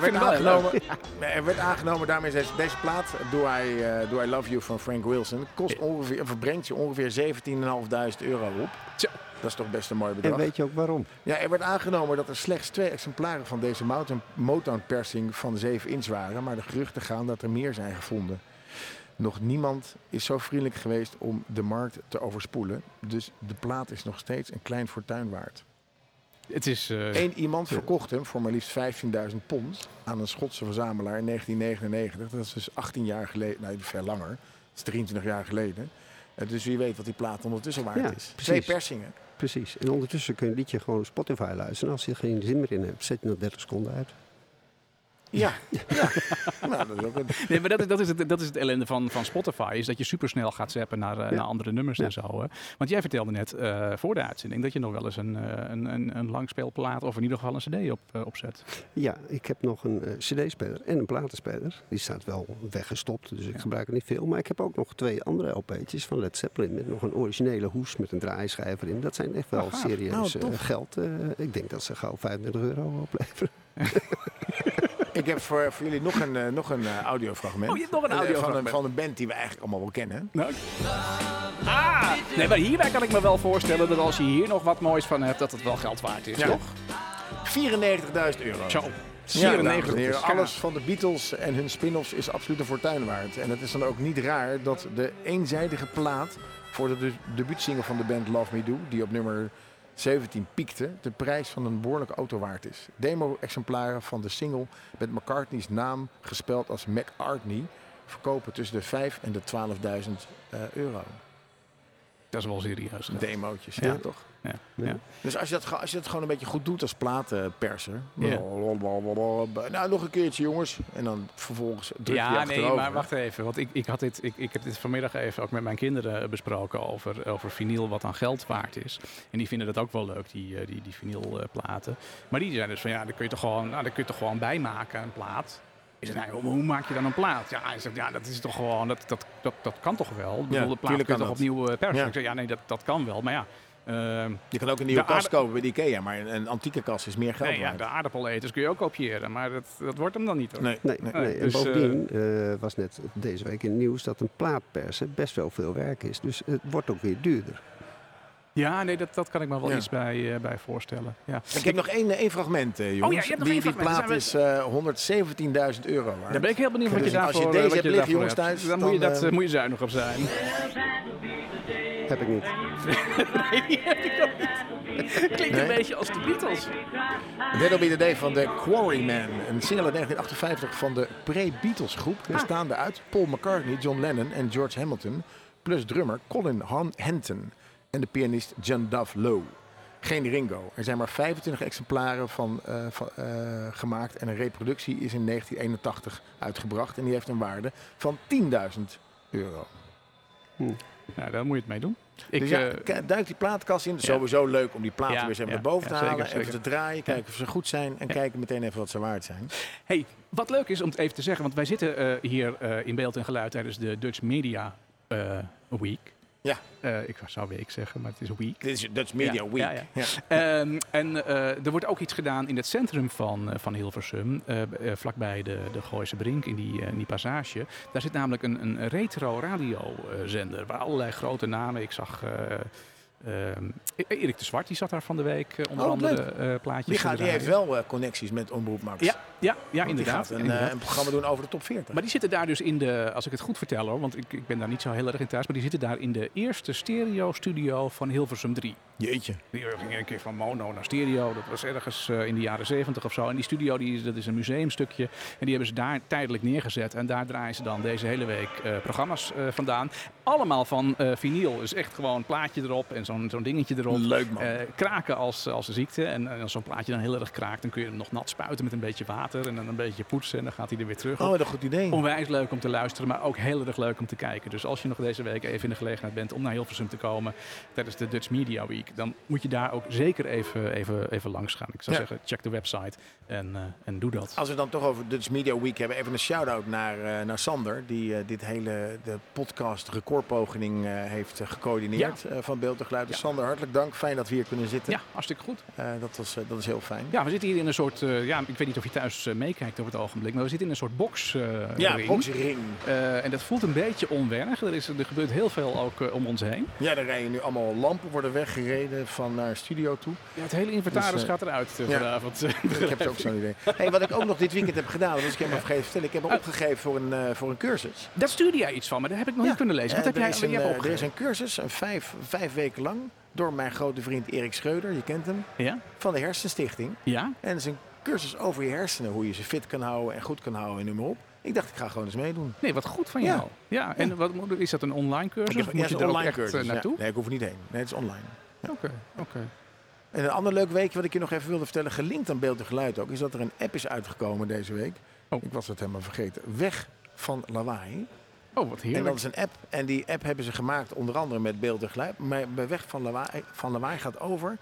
B: vind
C: werd,
B: hem wel heel
C: aangenomen, er werd aangenomen, daarmee is deze plaat, Do I, eh, Do I Love You van Frank Wilson, kost ongeveer, of brengt je ongeveer 17.500 euro op.
B: Zo.
C: Dat is toch best een mooi
D: En
C: bedrag.
D: weet je ook waarom?
C: Ja, er werd aangenomen dat er slechts twee exemplaren van deze mountain- Motown-persing van 7 inch waren, maar de geruchten gaan dat er meer zijn gevonden. Nog niemand is zo vriendelijk geweest om de markt te overspoelen, dus de plaat is nog steeds een klein fortuin waard.
B: het is... eh,
C: Eén iemand verkocht hem voor maar liefst 15.000 pond aan een Schotse verzamelaar in 1999. Dat is dus 18 jaar geleden, nou ver langer, dat is 23 jaar geleden. Eh, Dus wie weet wat die plaat ondertussen waard
D: Ja,
C: is.
D: precies.
C: Twee persingen.
D: Precies. En ondertussen kun je het liedje gewoon op Spotify luisteren. Als je er geen zin meer in hebt, zet je nog 30 seconden uit.
C: Ja, ja. nou, dat is ook een...
B: Nee, maar dat is, dat is, het, dat is het ellende van, van Spotify. Is dat je supersnel gaat zappen naar, eh,
D: Ja.
B: naar andere nummers
D: Ja.
B: en zo. Hè? Want jij vertelde net eh, voor de uitzending dat je nog wel eens een, eh, een, een, een langspeelplaat of in ieder geval een cd op, eh, opzet.
D: Ja, ik heb nog een eh, cd-speler en een platenspeler. Die staat wel weggestopt, dus ik gebruik het niet veel. Maar ik heb ook nog twee andere LP'tjes van Led Zeppelin... met nog een originele hoes met een draaischijf erin. Dat zijn echt wel
B: Oh, gaaf.
D: serieus
C: Oh,
D: eh,
C: tof.
D: geld. Eh, ik denk dat ze gauw 35 euro opleveren.
C: Ik heb voor, voor jullie nog een, eh, nog een eh, audiofragment.
B: Oh, je hebt nog een
C: Eh, van,
B: audiofragment.
C: een, van een band die we eigenlijk allemaal wel kennen.
B: Nou, ah, nee, maar hierbij kan ik me wel voorstellen dat als je hier nog wat moois van hebt, dat het wel geld waard is,
C: Ja.
B: toch?
C: 94.000 euro.
B: Zo.
C: Ja, dames en
B: 94.
C: heren, alles van de Beatles en hun spin-offs is absoluut een fortuin waard. En het is dan ook niet raar dat de eenzijdige plaat voor de de debuutsingle van de band Love Me Do, die op nummer 17 piekte, de prijs van een behoorlijke auto waard is. Demo-exemplaren van de single met McCartney's naam gespeld als McArtney verkopen tussen de 5 en de 12.000 eh, euro.
B: Dat is wel serieus. hè?
C: Demootjes,
B: Ja.
C: ja, toch?
B: Ja.
D: Ja.
B: Ja.
C: Dus als je, dat, ge- als je dat gewoon een beetje goed doet als platenperser.
B: Ja.
C: Blablabla. Nou, nog een keertje jongens. En dan vervolgens druk je
B: Ja, nee,
C: achterover.
B: maar wacht even. Want ik, ik, had dit, ik, ik heb dit vanmiddag even ook met mijn kinderen besproken over, over vinyl wat aan geld waard is. En die vinden dat ook wel leuk, die, eh, die, die vinylplaten. Maar die zijn dus van, ja, daar kun je toch gewoon, nou, daar kun je toch gewoon bij maken, een plaat. Is het, nou, hoe hoe maak je dan een plaat? Ja, hij zegt, ja dat is toch gewoon, dat, dat, dat, dat kan toch wel? Ik bedoel, de plaat kun je
C: tuurlijk
B: toch
C: kan dat.
B: opnieuw eh, persen?
C: Ja.
B: Ik zeg, ja, nee, dat, dat kan wel. Maar ja, ehm,
C: Je kan ook een nieuwe
B: De
C: kast
B: aarde-
C: kopen bij de Ikea, maar een, een antieke kast is meer geld
B: nee, ja,
C: waard.
B: de aardappeleters kun je ook kopiëren. Maar dat, dat wordt hem dan niet, hoor.
C: Nee.
D: Nee,
B: Nee,
D: nee,
B: dus,
D: en bovendien eh, was net deze week in het nieuws... dat een plaatpersen best wel veel werk is. Dus het wordt ook weer duurder.
B: Ja, nee, dat, dat kan ik me wel
C: Ja.
B: iets bij, eh, bij voorstellen. Ja.
C: Ik heb nog één, één fragment, eh, jongens.
B: Oh ja, je hebt nog
C: die,
B: één
C: die
B: fragment.
C: plaat is eh 117.000 euro waard.
B: Daar ben ik heel benieuwd wat je
C: Dus als je
B: daarvoor
C: deze
B: eh, wat
C: hebt liggen,
B: daarvoor
C: jongens, thuis,
B: Dan, moet je,
C: dan,
B: dat,
C: eh,
B: eh, moet je zuinig op zijn.
D: Heb ik niet.
B: Klinkt
C: Nee.
B: een beetje als de Beatles.
C: That'll be the day van de Quarrymen. Een single uit 1958 van de pre-Beatles groep.
B: Ah.
C: Bestaande uit Paul McCartney, John Lennon en George Hamilton. Plus drummer Colin Han Henton. En de pianist John Duff Lowe. Geen Ringo. Er zijn maar 25 exemplaren van, eh, van, eh, gemaakt. En een reproductie is in 1981 uitgebracht. En die heeft een waarde van 10.000 euro.
B: Nou, daar moet je het mee doen. Ik,
C: Dus ja,
B: eh,
C: k- duik die plaatkast in.
B: ja.
C: Sowieso leuk om die platen
B: Ja,
C: weer eens even
B: ja,
C: naar boven
B: ja,
C: te
B: zeker,
C: halen. Even
B: zeker.
C: te draaien. Kijken of ze goed zijn. En
B: Ja.
C: kijken meteen even wat ze waard zijn.
B: hey, wat leuk is om het even te zeggen, want wij zitten eh, hier eh, in beeld en geluid tijdens de Dutch Media eh, Week.
C: Ja.
B: Eh, ik zou week zeggen, maar het is week.
C: Dit is Dutch Media
B: Ja,
C: Week.
B: ja, ja. Ehm, en eh, er wordt ook iets gedaan in het centrum van, eh, van Hilversum, eh, b- eh, vlakbij de, de Gooise Brink in die, eh, in die passage. Daar zit namelijk een, een retro radiozender waar allerlei grote namen. Ik zag eh, ehm, E- Erik de Zwart, die zat daar van de week eh, onder
C: Oh,
B: andere eh, plaatjes.
C: Die,
B: te
C: gaat, die
B: draaien.
C: heeft wel eh, connecties met Omroep Max.
B: Ja, ja, ja
C: Want die
B: inderdaad.
C: gaat een,
B: inderdaad.
C: eh, een programma doen over de top 40.
B: Maar die zitten daar dus in de, als ik het goed vertel hoor, want ik, ik ben daar niet zo heel erg in thuis, maar die zitten daar in de eerste stereo-studio van Hilversum 3.
C: Jeetje.
B: Die ging een keer van mono naar stereo. Dat was ergens eh, in de jaren zeventig of zo. En die studio, die, is- dat is een museumstukje. En die hebben ze daar tijdelijk neergezet. En daar draaien ze dan deze hele week eh, programma's eh, vandaan. Allemaal van eh vinyl. Dus echt gewoon een plaatje erop en zo'n zo'n dingetje erop.
C: Leuk, man.
B: Eh, kraken als, als een ziekte. En, en als zo'n plaatje dan heel erg kraakt, dan kun je hem nog nat spuiten met een beetje water. En dan een beetje poetsen. En dan gaat hij er weer terug op.
C: Oh, wat een goed idee.
B: Onwijs leuk om te luisteren, maar ook heel erg leuk om te kijken. Dus als je nog deze week even in de gelegenheid bent om naar Hilversum te komen tijdens de Dutch Media Week, dan moet je daar ook zeker even, even, even langs gaan. Ik zou
C: Ja. Oh,
B: zeggen, check de website en, eh, en doe dat.
C: Als we het dan toch over Dutch Media Week hebben, even een shout-out naar, eh, naar Sander. Die eh, dit hele de podcast recordpoging eh, heeft eh, gecoördineerd eh, van Beeld en Geluid. Dus
B: Ja.
C: Sander, hartelijk dank. Fijn dat we hier kunnen zitten.
B: Ja, hartstikke goed.
C: Eh, dat, was, eh, dat is heel fijn.
B: Ja, we zitten hier in een soort, eh, ja, ik weet niet of je thuis eh, meekijkt op het ogenblik, maar we zitten in een soort box. eh, ring.
C: boxring.
B: Eh, en dat voelt een beetje onwennig. Er, is, er gebeurt heel veel ook eh, om ons heen.
C: Ja, daar rijden nu allemaal lampen, worden weggereden van naar studio toe.
B: Ja, het hele inventaris
C: Dus, eh,
B: gaat eruit eh,
C: ja.
B: vanavond.
C: Ik heb het ook zo'n idee. Hey, wat ik ook nog dit weekend heb gedaan, dat was ik helemaal vergeten te vertellen. Ik heb
B: Oh.
C: me opgegeven voor een, eh, voor een cursus.
B: Daar stuurde jij iets van, maar daar heb ik nog
C: Ja.
B: niet kunnen lezen. Wat
C: Eh,
B: heb jij oh,
C: er, is een,
B: je hebt
C: eh, er
B: opgegeven?
C: is een cursus, een vijf, vijf weken lang, door mijn grote vriend Erik Schreuder, je kent hem,
B: Ja?
C: van de Hersenstichting.
B: Ja?
C: En het is een cursus over je hersenen, hoe je ze fit kan houden en goed kan houden en noem maar op. Ik dacht, ik ga gewoon eens meedoen.
B: Nee, wat goed van
C: Ja.
B: jou. Ja, en wat, moet- is dat een online cursus?
C: Ik heb-
B: of
C: ja,
B: moet
C: het
B: je
C: is
B: er ook echt eh,
C: ja.
B: naartoe?
C: Nee, ik hoef er niet heen. Nee, het is online.
B: Oké, oké.
C: En een ander leuk weekje wat ik je nog even wilde vertellen, gelinkt aan beeld en geluid ook, is dat er een app is uitgekomen deze week.
B: Oh.
C: Ik was het helemaal vergeten. Weg van lawaai.
B: Oh, wat
C: En dat
B: heerlijk.
C: is een app. En die app hebben ze gemaakt onder andere met beeld en geluid. Maar bij weg van lawaai, van lawaai gaat over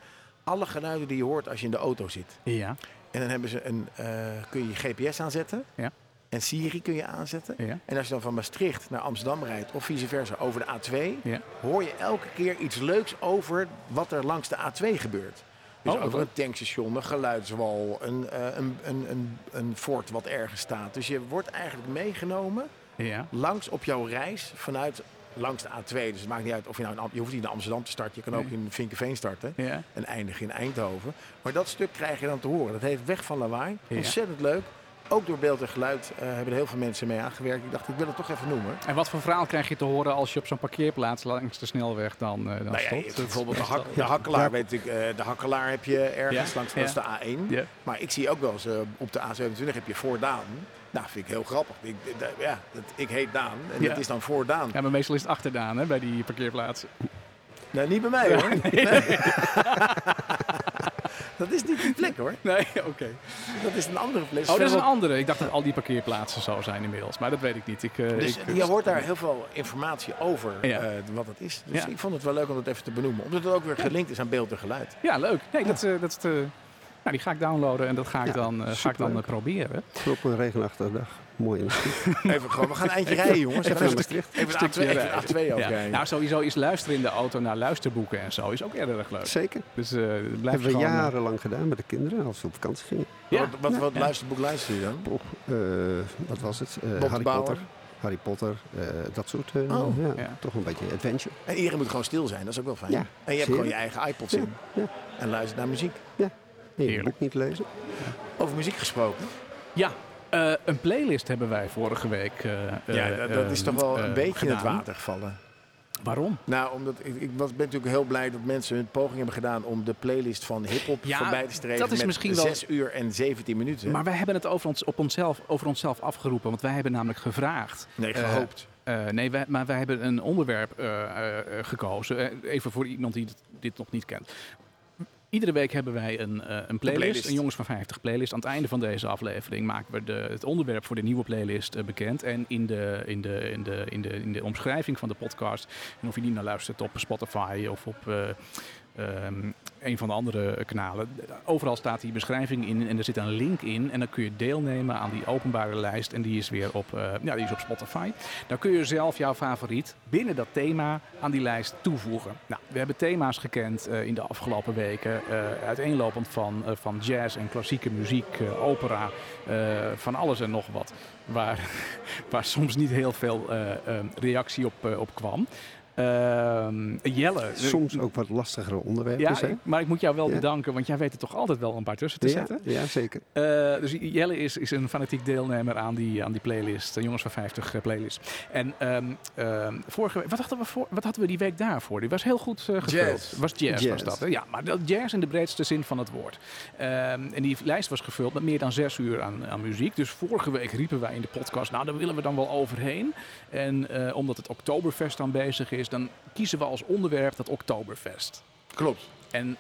C: alle geluiden die je hoort als je in de auto zit.
B: Ja,
C: En dan hebben ze een, eh, kun je je GPS aanzetten.
B: Ja.
C: En Siri kun je aanzetten.
B: ja,
C: En als je dan van Maastricht naar Amsterdam rijdt of vice versa over de A2,
B: ja.
C: hoor je elke keer iets leuks over wat er langs de A2 gebeurt. Dus
B: Oh, wat
C: over
B: leuk.
C: een tankstation, een geluidswal, een, eh, een, een, een, een fort wat ergens staat. Dus je wordt eigenlijk meegenomen
B: ja.
C: langs op jouw reis vanuit langs de A2. Dus het maakt niet uit of je nou in, Am- je hoeft niet in Amsterdam te starten, je kan ook
B: Nee.
C: in Vinkenveen starten
B: Ja,
C: en eindigen in Eindhoven. Maar dat stuk krijg je dan te horen. Dat heeft weg van lawaai.
B: Ja.
C: Ontzettend leuk. Ook door beeld en geluid eh, hebben er heel veel mensen mee aangewerkt. Ik dacht, ik wil het toch even noemen.
B: en wat voor verhaal krijg je te horen als je op zo'n parkeerplaats langs de snelweg dan, eh, dan
C: Nou ja, je
B: stopt?
C: hebt
B: Dat-
C: bijvoorbeeld de,
B: dat-
C: hak, de hakkelaar, weet ik, eh, de hakkelaar heb je ergens
B: Ja,
C: langs dat is
B: ja.
C: de A1.
B: Ja.
C: Maar ik zie ook wel eens eh, op de A27 heb je voor Daan. Nou, vind ik heel grappig. Ik, d- ja, dat, ik heet Daan en
B: Ja.
C: dat is dan voor Daan.
B: Ja, maar meestal is het achterdaan hè, bij die parkeerplaatsen.
C: Nou, niet bij mij hoor. Nee. dat is niet die plek hoor.
B: Nee, oké.
C: Dat is een andere plek.
B: Oh, dat is een andere. Ik dacht dat al die parkeerplaatsen zo zijn inmiddels, maar dat weet ik niet. Ik, eh,
C: Dus
B: ik-
C: je hoort daar heel veel informatie over
B: Ja.
C: eh, wat het is. Dus
B: Ja.
C: ik vond het wel leuk om dat even te benoemen. Omdat het ook weer gelinkt is aan beeld en geluid.
B: Ja, leuk. Nee, dat, eh, dat, eh, nou, die ga ik downloaden en dat ga ik
D: Ja,
B: dan, eh, ga ik dan eh,
D: superleuk.
B: proberen.
D: Op een regenachtige dag. Mooi in de schiet.
C: Even gewoon, we gaan een eindje rijden jongens. Even,
D: naar
C: even,
D: Maastricht.
C: even een A2, even een A2
B: Ja.
C: afrijden.
B: Nou, sowieso is luisteren in de auto naar luisterboeken en zo is ook erg leuk.
D: Zeker.
B: Dus eh blijf
D: hebben we
B: gewoon... eh,
D: jarenlang gedaan met de kinderen als ze op vakantie gingen.
B: ja.
C: Wat, wat, wat luisterboek luister je dan?
D: Op, eh, wat was het? Eh,
C: Bob
D: Harry
C: Bauer.
D: Potter. Harry Potter, eh, dat soort. eh,
C: Oh.
D: ja,
B: Ja.
D: Toch een beetje adventure.
C: En iedereen moet gewoon stil zijn, dat is ook wel fijn.
D: Ja,
C: en je hebt
D: zeker.
C: gewoon je eigen iPods in
D: Ja,
C: en luistert naar muziek.
D: En je
B: Heerlijk.
D: boek niet lezen.
C: Over muziek gesproken.
B: Ja, eh, een playlist hebben wij vorige week eh,
C: ja,
B: eh,
C: dat, dat is toch wel
B: eh,
C: een beetje in het
B: gedaan.
C: water gevallen.
B: Waarom?
C: Nou, omdat ik, ik was, ben natuurlijk heel blij dat mensen hun poging hebben gedaan om de playlist van hip-hop
B: Ja,
C: voorbij te streven.
B: dat is
C: met
B: misschien wel-
C: 6 uur en 17 minuten.
B: Maar wij hebben het over, ons, op onszelf, over onszelf afgeroepen, want wij hebben namelijk gevraagd.
C: nee,
B: eh,
C: gehoopt.
B: Eh, nee, wij, maar wij hebben een onderwerp eh, eh, eh, gekozen. Eh, even voor iemand die dit, dit nog niet kent. Iedere week hebben wij een, eh, een playlist,
C: playlist.
B: een Jongens van 50 playlist. Aan het einde van deze aflevering maken we de, het onderwerp voor de nieuwe playlist eh, bekend. En in de, in, de, in, de, in, de, in de omschrijving van de podcast, en of je die nou luistert op Spotify of op eh, ehm, een van de andere kanalen, overal staat die beschrijving in en er zit een link in. En dan kun je deelnemen aan die openbare lijst en die is weer op, eh, ja, die is op Spotify. Dan kun je zelf jouw favoriet binnen dat thema aan die lijst toevoegen. Nou, we hebben thema's gekend eh, in de afgelopen weken. eh, uiteenlopend van, eh, van jazz en klassieke muziek, eh, opera, eh, van alles en nog wat. Waar, waar soms niet heel veel eh, eh, reactie op, eh, op kwam. Ehm, Jelle.
D: Soms ook wat lastigere onderwerpen. dus,
B: Ja,
D: hè?
B: ik- maar ik moet jou wel
D: Ja.
B: bedanken, want jij weet er toch altijd wel een paar tussen te
D: ja,
B: zetten.
D: ja, zeker.
B: Eh, dus Jelle is, is een fanatiek deelnemer aan die, aan die playlist, de Jongens van 50 eh, playlist. En ehm, ehm, vorige week, wat hadden, we voor, wat hadden we die week daarvoor? Die was heel goed eh gevuld.
C: Jazz.
B: Was jazz, was
D: Jazz.
B: dat. Hè? Ja, maar dat jazz in de breedste zin van het woord. Ehm, en die lijst was gevuld met meer dan zes uur aan, aan muziek. Dus vorige week riepen wij in de podcast, nou daar willen we dan wel overheen. En eh, omdat het Oktoberfest dan bezig is, dan kiezen we als onderwerp dat Oktoberfest.
C: Klopt.
B: En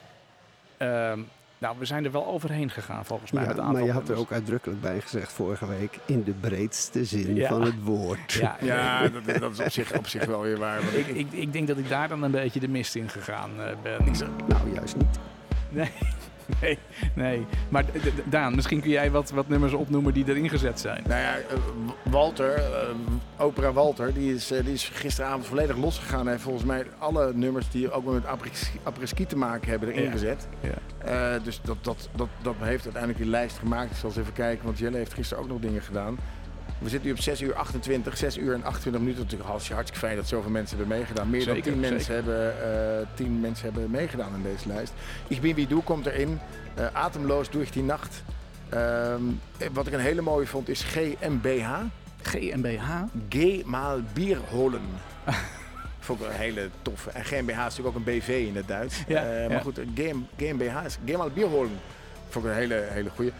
B: ehm, nou, we zijn er wel overheen gegaan volgens mij.
D: Ja,
B: met een
D: maar
B: aantal dus.
D: je had er
B: nummers.
D: ook uitdrukkelijk bij gezegd vorige week. In de breedste zin
B: Ja.
D: van het woord.
B: Ja,
C: Ja, dat, is- dat is op zich, op zich wel weer waar. want
B: Ik,
C: ik-
B: ik, ik denk dat ik daar dan een beetje de mist in gegaan eh, ben.
D: Nou, juist niet.
B: Nee, nee, nee. Maar d- d- Daan, misschien kun jij wat, wat nummers opnoemen die erin gezet zijn.
C: Nou ja, eh, W- Walter, eh, opera Walter, die is, eh, die is gisteravond volledig losgegaan. Hij heeft volgens mij alle nummers die ook met apres- apres-ski te maken hebben erin
B: Ja.
C: gezet.
B: Ja.
C: Eh, dus dat, dat, dat, dat heeft uiteindelijk die lijst gemaakt. Ik zal eens even kijken, want Jelle heeft gisteren ook nog dingen gedaan. We zitten nu op 6 uur 28, 6 uur en 28 minuten. Natuurlijk hartstikke, hartstikke fijn dat zoveel mensen hebben meegedaan. Meer
B: Zeker,
C: dan 10 mensen,
B: zeker.
C: hebben, eh 10 mensen hebben meegedaan aan deze lijst. Ik bin wie doe komt erin. Eh, atemloos doe ik die nacht. Ehm, eh, wat ik een hele mooie vond is GMBH.
B: GmbH.
C: Geh mal Bier holen. Vond ik wel een hele toffe. En GmbH is natuurlijk ook een BV in het Duits.
B: Ja,
C: Eh, maar
B: ja.
C: goed, GM, GmbH is Geh mal Bier holen. Vond ik een hele, hele goeie.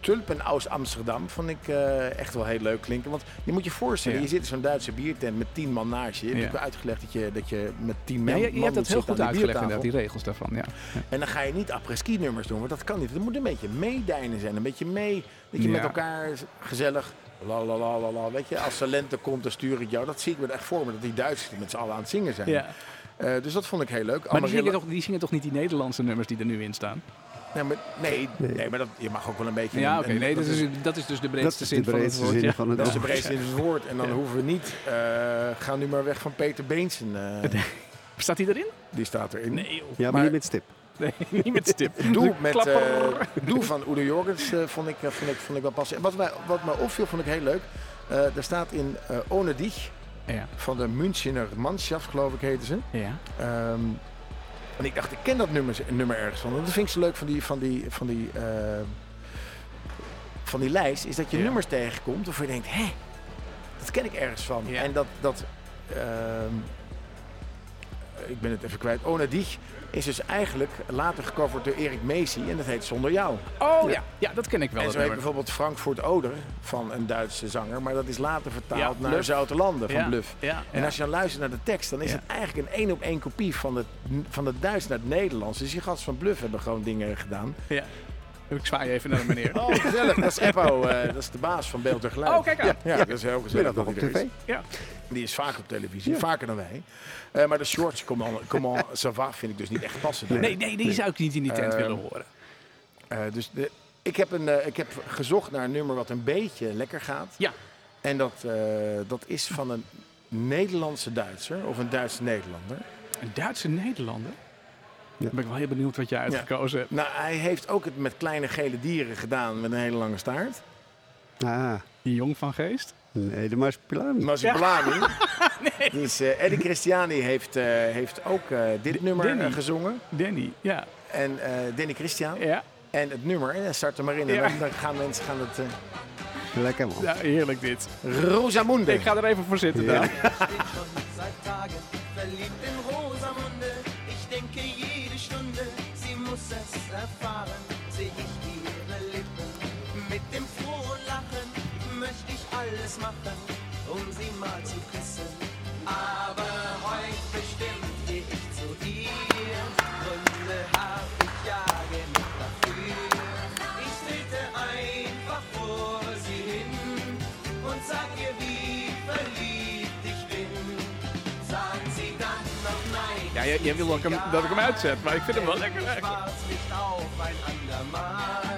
C: Tulpen aus Amsterdam vond ik eh, echt wel heel leuk klinken. Want je moet je voorstellen,
B: Ja.
C: je zit in zo'n Duitse biertent met tien man naast je. Je hebt
B: Ja.
C: natuurlijk uitgelegd dat je, dat je met tien
B: Ja,
C: men- man
B: je, je hebt dat
C: moet
B: heel
C: zitten
B: goed
C: aan die
B: uitgelegd inderdaad,
C: biertafel.
B: die regels daarvan. Ja.
C: En dan ga je niet après-ski nummers doen, want dat kan niet. Het moet een beetje meedijnen zijn, een beetje mee. Dat je
B: Ja.
C: met elkaar gezellig, la la la la la. Weet je, als talenten komt, dan stuur ik jou. Dat zie ik me er echt voor me, dat die Duitsers met z'n allen aan het zingen zijn.
B: Ja.
C: Eh, dus dat vond ik heel leuk.
B: Maar die
C: Amarillo-
B: zingen, toch, die zingen toch niet die Nederlandse nummers die er nu in staan?
C: Nee, maar, nee, nee, maar dat, je mag ook wel een beetje...
B: Ja,
C: een-
B: oké.
C: een-
B: Nee, dat
C: dat
B: is, dat is dus de
D: Dat
B: breedste
D: is
B: zin
D: de breedste
B: van het woord.
D: zin
B: ja.
D: van het
C: Dat is de
D: woord.
C: breedste in het woord. En dan hoeven we niet... eh, ga nu maar weg van Peter Beensen. eh,
B: Staat die erin?
C: die staat erin.
B: Nee, joh.
D: Ja, maar,
C: Maar-
D: niet met stip.
B: Nee, niet met stip.
C: Doe,
B: De
C: met, eh
B: klapper.
C: Doe van Udo Jorgens eh, vond, ik, eh, vond, ik, vond ik wel passen. En wat mij, wat mij opviel, vond ik heel leuk. Eh er staat in eh Ohne Dich
B: Ja.
C: van de Münchener Mannschaft, geloof ik heten ze.
B: ja.
C: Ehm, en ik dacht, ik ken dat nummer, nummer ergens van. Want Dat vind ik zo leuk van die, van die, van die, eh, van die lijst, is dat je
B: Ja.
C: nummers tegenkomt waarvan je denkt, hé, dat ken ik ergens van.
B: Ja.
C: En dat, dat ehm, ik ben het even kwijt, Ona Dich is dus eigenlijk later gecoverd door Erik Messi en dat heet Zonder Jou.
B: Oh ja. ja, dat ken ik wel.
C: en
B: dat
C: zo heet
B: nummer.
C: bijvoorbeeld Frankfurt Oder van een Duitse zanger, maar dat is later vertaald
B: Ja,
C: naar
B: Bluff.
C: Zoute Landen van
B: ja.
C: Bluff.
B: Ja,
C: En
B: ja.
C: als je dan luistert naar de tekst, dan is
B: Ja.
C: het eigenlijk een één op één kopie van het, van het Duits naar het Nederlands. Dus die gasten van Bluff hebben gewoon dingen gedaan.
B: ja. Ik zwaai even naar de meneer.
C: Oh, gezellig. dat is Eppo, eh, dat is de baas van Beeld en Geluid.
B: Oh, kijk aan.
C: Ja, ja, dat is heel gezellig.
D: Dat nog op
C: hij er
D: tv.
C: is.
B: Ja.
C: Die is vaak op televisie, vaker dan wij. Eh, maar de shorts, comment, comment ça va, vind ik dus niet echt passend.
B: Nee, nee, die zou ik niet in die tent
C: Eh,
B: willen horen.
C: Eh, dus de, ik, heb een, eh, ik heb gezocht naar een nummer wat een beetje lekker gaat.
B: Ja.
C: En dat, eh, dat is van een Nederlandse Duitser of een Duitse Nederlander.
B: Een Duitse Nederlander?
D: Ja.
B: Ben ik wel heel benieuwd wat jij uitgekozen hebt.
C: Nou, hij heeft ook het met kleine gele dieren gedaan met een hele lange staart.
D: Ah,
B: Die jong van geest?
D: nee, de Marspilami.
C: Mazzolani. dus, eh, Eddie Christiani heeft, eh, heeft ook eh, dit nummer
B: Danny.
C: eh, gezongen.
B: Danny, ja.
C: En eh, Danny Christian.
B: Ja,
C: En het nummer, en dan start er maar in.
B: Ja.
C: En dan- dan gaan mensen gaan het... eh
D: Lekker man.
B: ja heerlijk dit.
C: Rosamunde.
B: Ik ga er even voor zitten dan.
E: bin schon seit Tagen verliebt in Rosamunde. Ich denke jede Stunde, sie muss es erfahren. Sehe ich ihre Lippen mit dem frohen Lachen, möchte ich alles machen, um sie mal zu küssen. Aber heut bestimmt geh ich zu ihr. Gründe hab ich ja genug dafür. Ich trete einfach vor sie hin und sag ihr, wie verliebt ich bin. Sagt sie dann noch nein.
B: Ja, jij, jij wil ook hem- dat ik hem uitzet, maar ik vind hem wel lekker.
E: Ich
B: eigenlijk.
E: war's nicht auf ein andermal.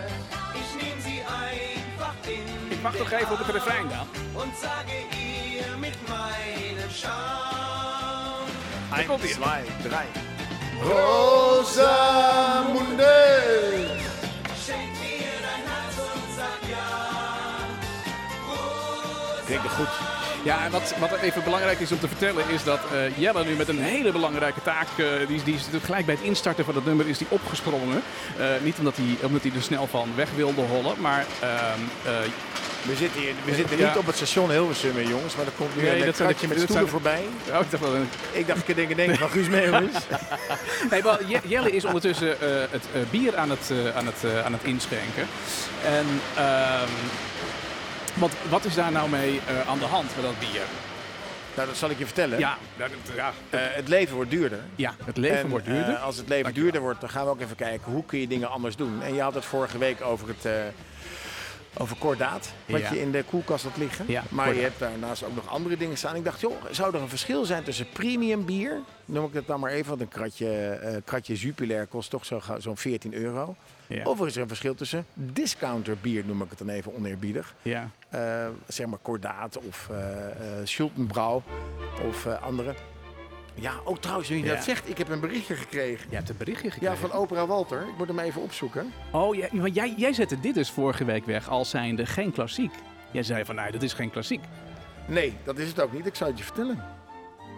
E: Ich nehm sie einfach in
B: Ik mag toch even op het refrein gaan.
E: und sage ihr mit meinem Charme.
B: Daar komt hij.
C: Zwei, drei. Rosamunde.
E: Schenk mir dein Herz und sag ja.
C: Klinkt goed.
B: Ja, en wat, wat even belangrijk is om te vertellen is dat eh, Jelle nu met een hele belangrijke taak, eh, die, is- die is natuurlijk gelijk bij het instarten van dat nummer is die opgesprongen. Eh, niet omdat hij, omdat hij er snel van weg wilde hollen, maar ehm, eh,
C: We zitten, hier, we zitten
B: Ja.
C: niet op het station Hilversum, hè, jongens. Maar er komt nu
B: Nee,
C: een eh,
B: dat zijn de-
C: kratje met
B: dat zijn de-
C: stoelen voorbij.
B: oh, ik dacht wel een
C: Ik dacht, ik denk, denk van Guus Meeuwis.
B: Nee, wel, Je- Jelle is ondertussen eh, het eh, bier aan het, eh, aan, het, eh, aan het inschenken. En, ehm, want wat is daar nou mee eh, aan de hand met dat bier?
C: nou, dat zal ik je vertellen.
B: Ja, dat- ja,
C: Eh, het leven wordt duurder.
B: ja, het leven
C: En,
B: wordt duurder.
C: eh, als het leven
B: Dankjewel.
C: duurder wordt, dan gaan we ook even kijken hoe kun je dingen anders doen. En je had het vorige week over het. eh, over kordaat, wat
B: Ja.
C: je in de koelkast had liggen.
B: Ja,
C: maar je
B: kordaat.
C: hebt daarnaast ook nog andere dingen staan. Ik dacht, joh, zou er een verschil zijn tussen premium bier, noem ik dat dan maar even, want een kratje, eh, kratje Jupiler kost toch zo gauw- zo'n 14 euro.
B: Ja.
C: Of er is er een verschil tussen discounter bier, noem ik het dan even oneerbiedig.
B: ja.
C: Eh, zeg maar Kordaat of eh eh, Schultenbrouw of eh, andere. Ja, ook trouwens, nu je
B: Ja.
C: dat zegt, ik heb een berichtje gekregen.
B: Jij hebt een berichtje gekregen.
C: Ja, van Opera Walter. Ik moet hem even opzoeken.
B: Oh, ja, want jij, jij zette dit dus vorige week weg als zijnde geen klassiek. Jij zei van, nou, dat is geen klassiek.
C: Nee, dat is het ook niet. Ik zou het je vertellen.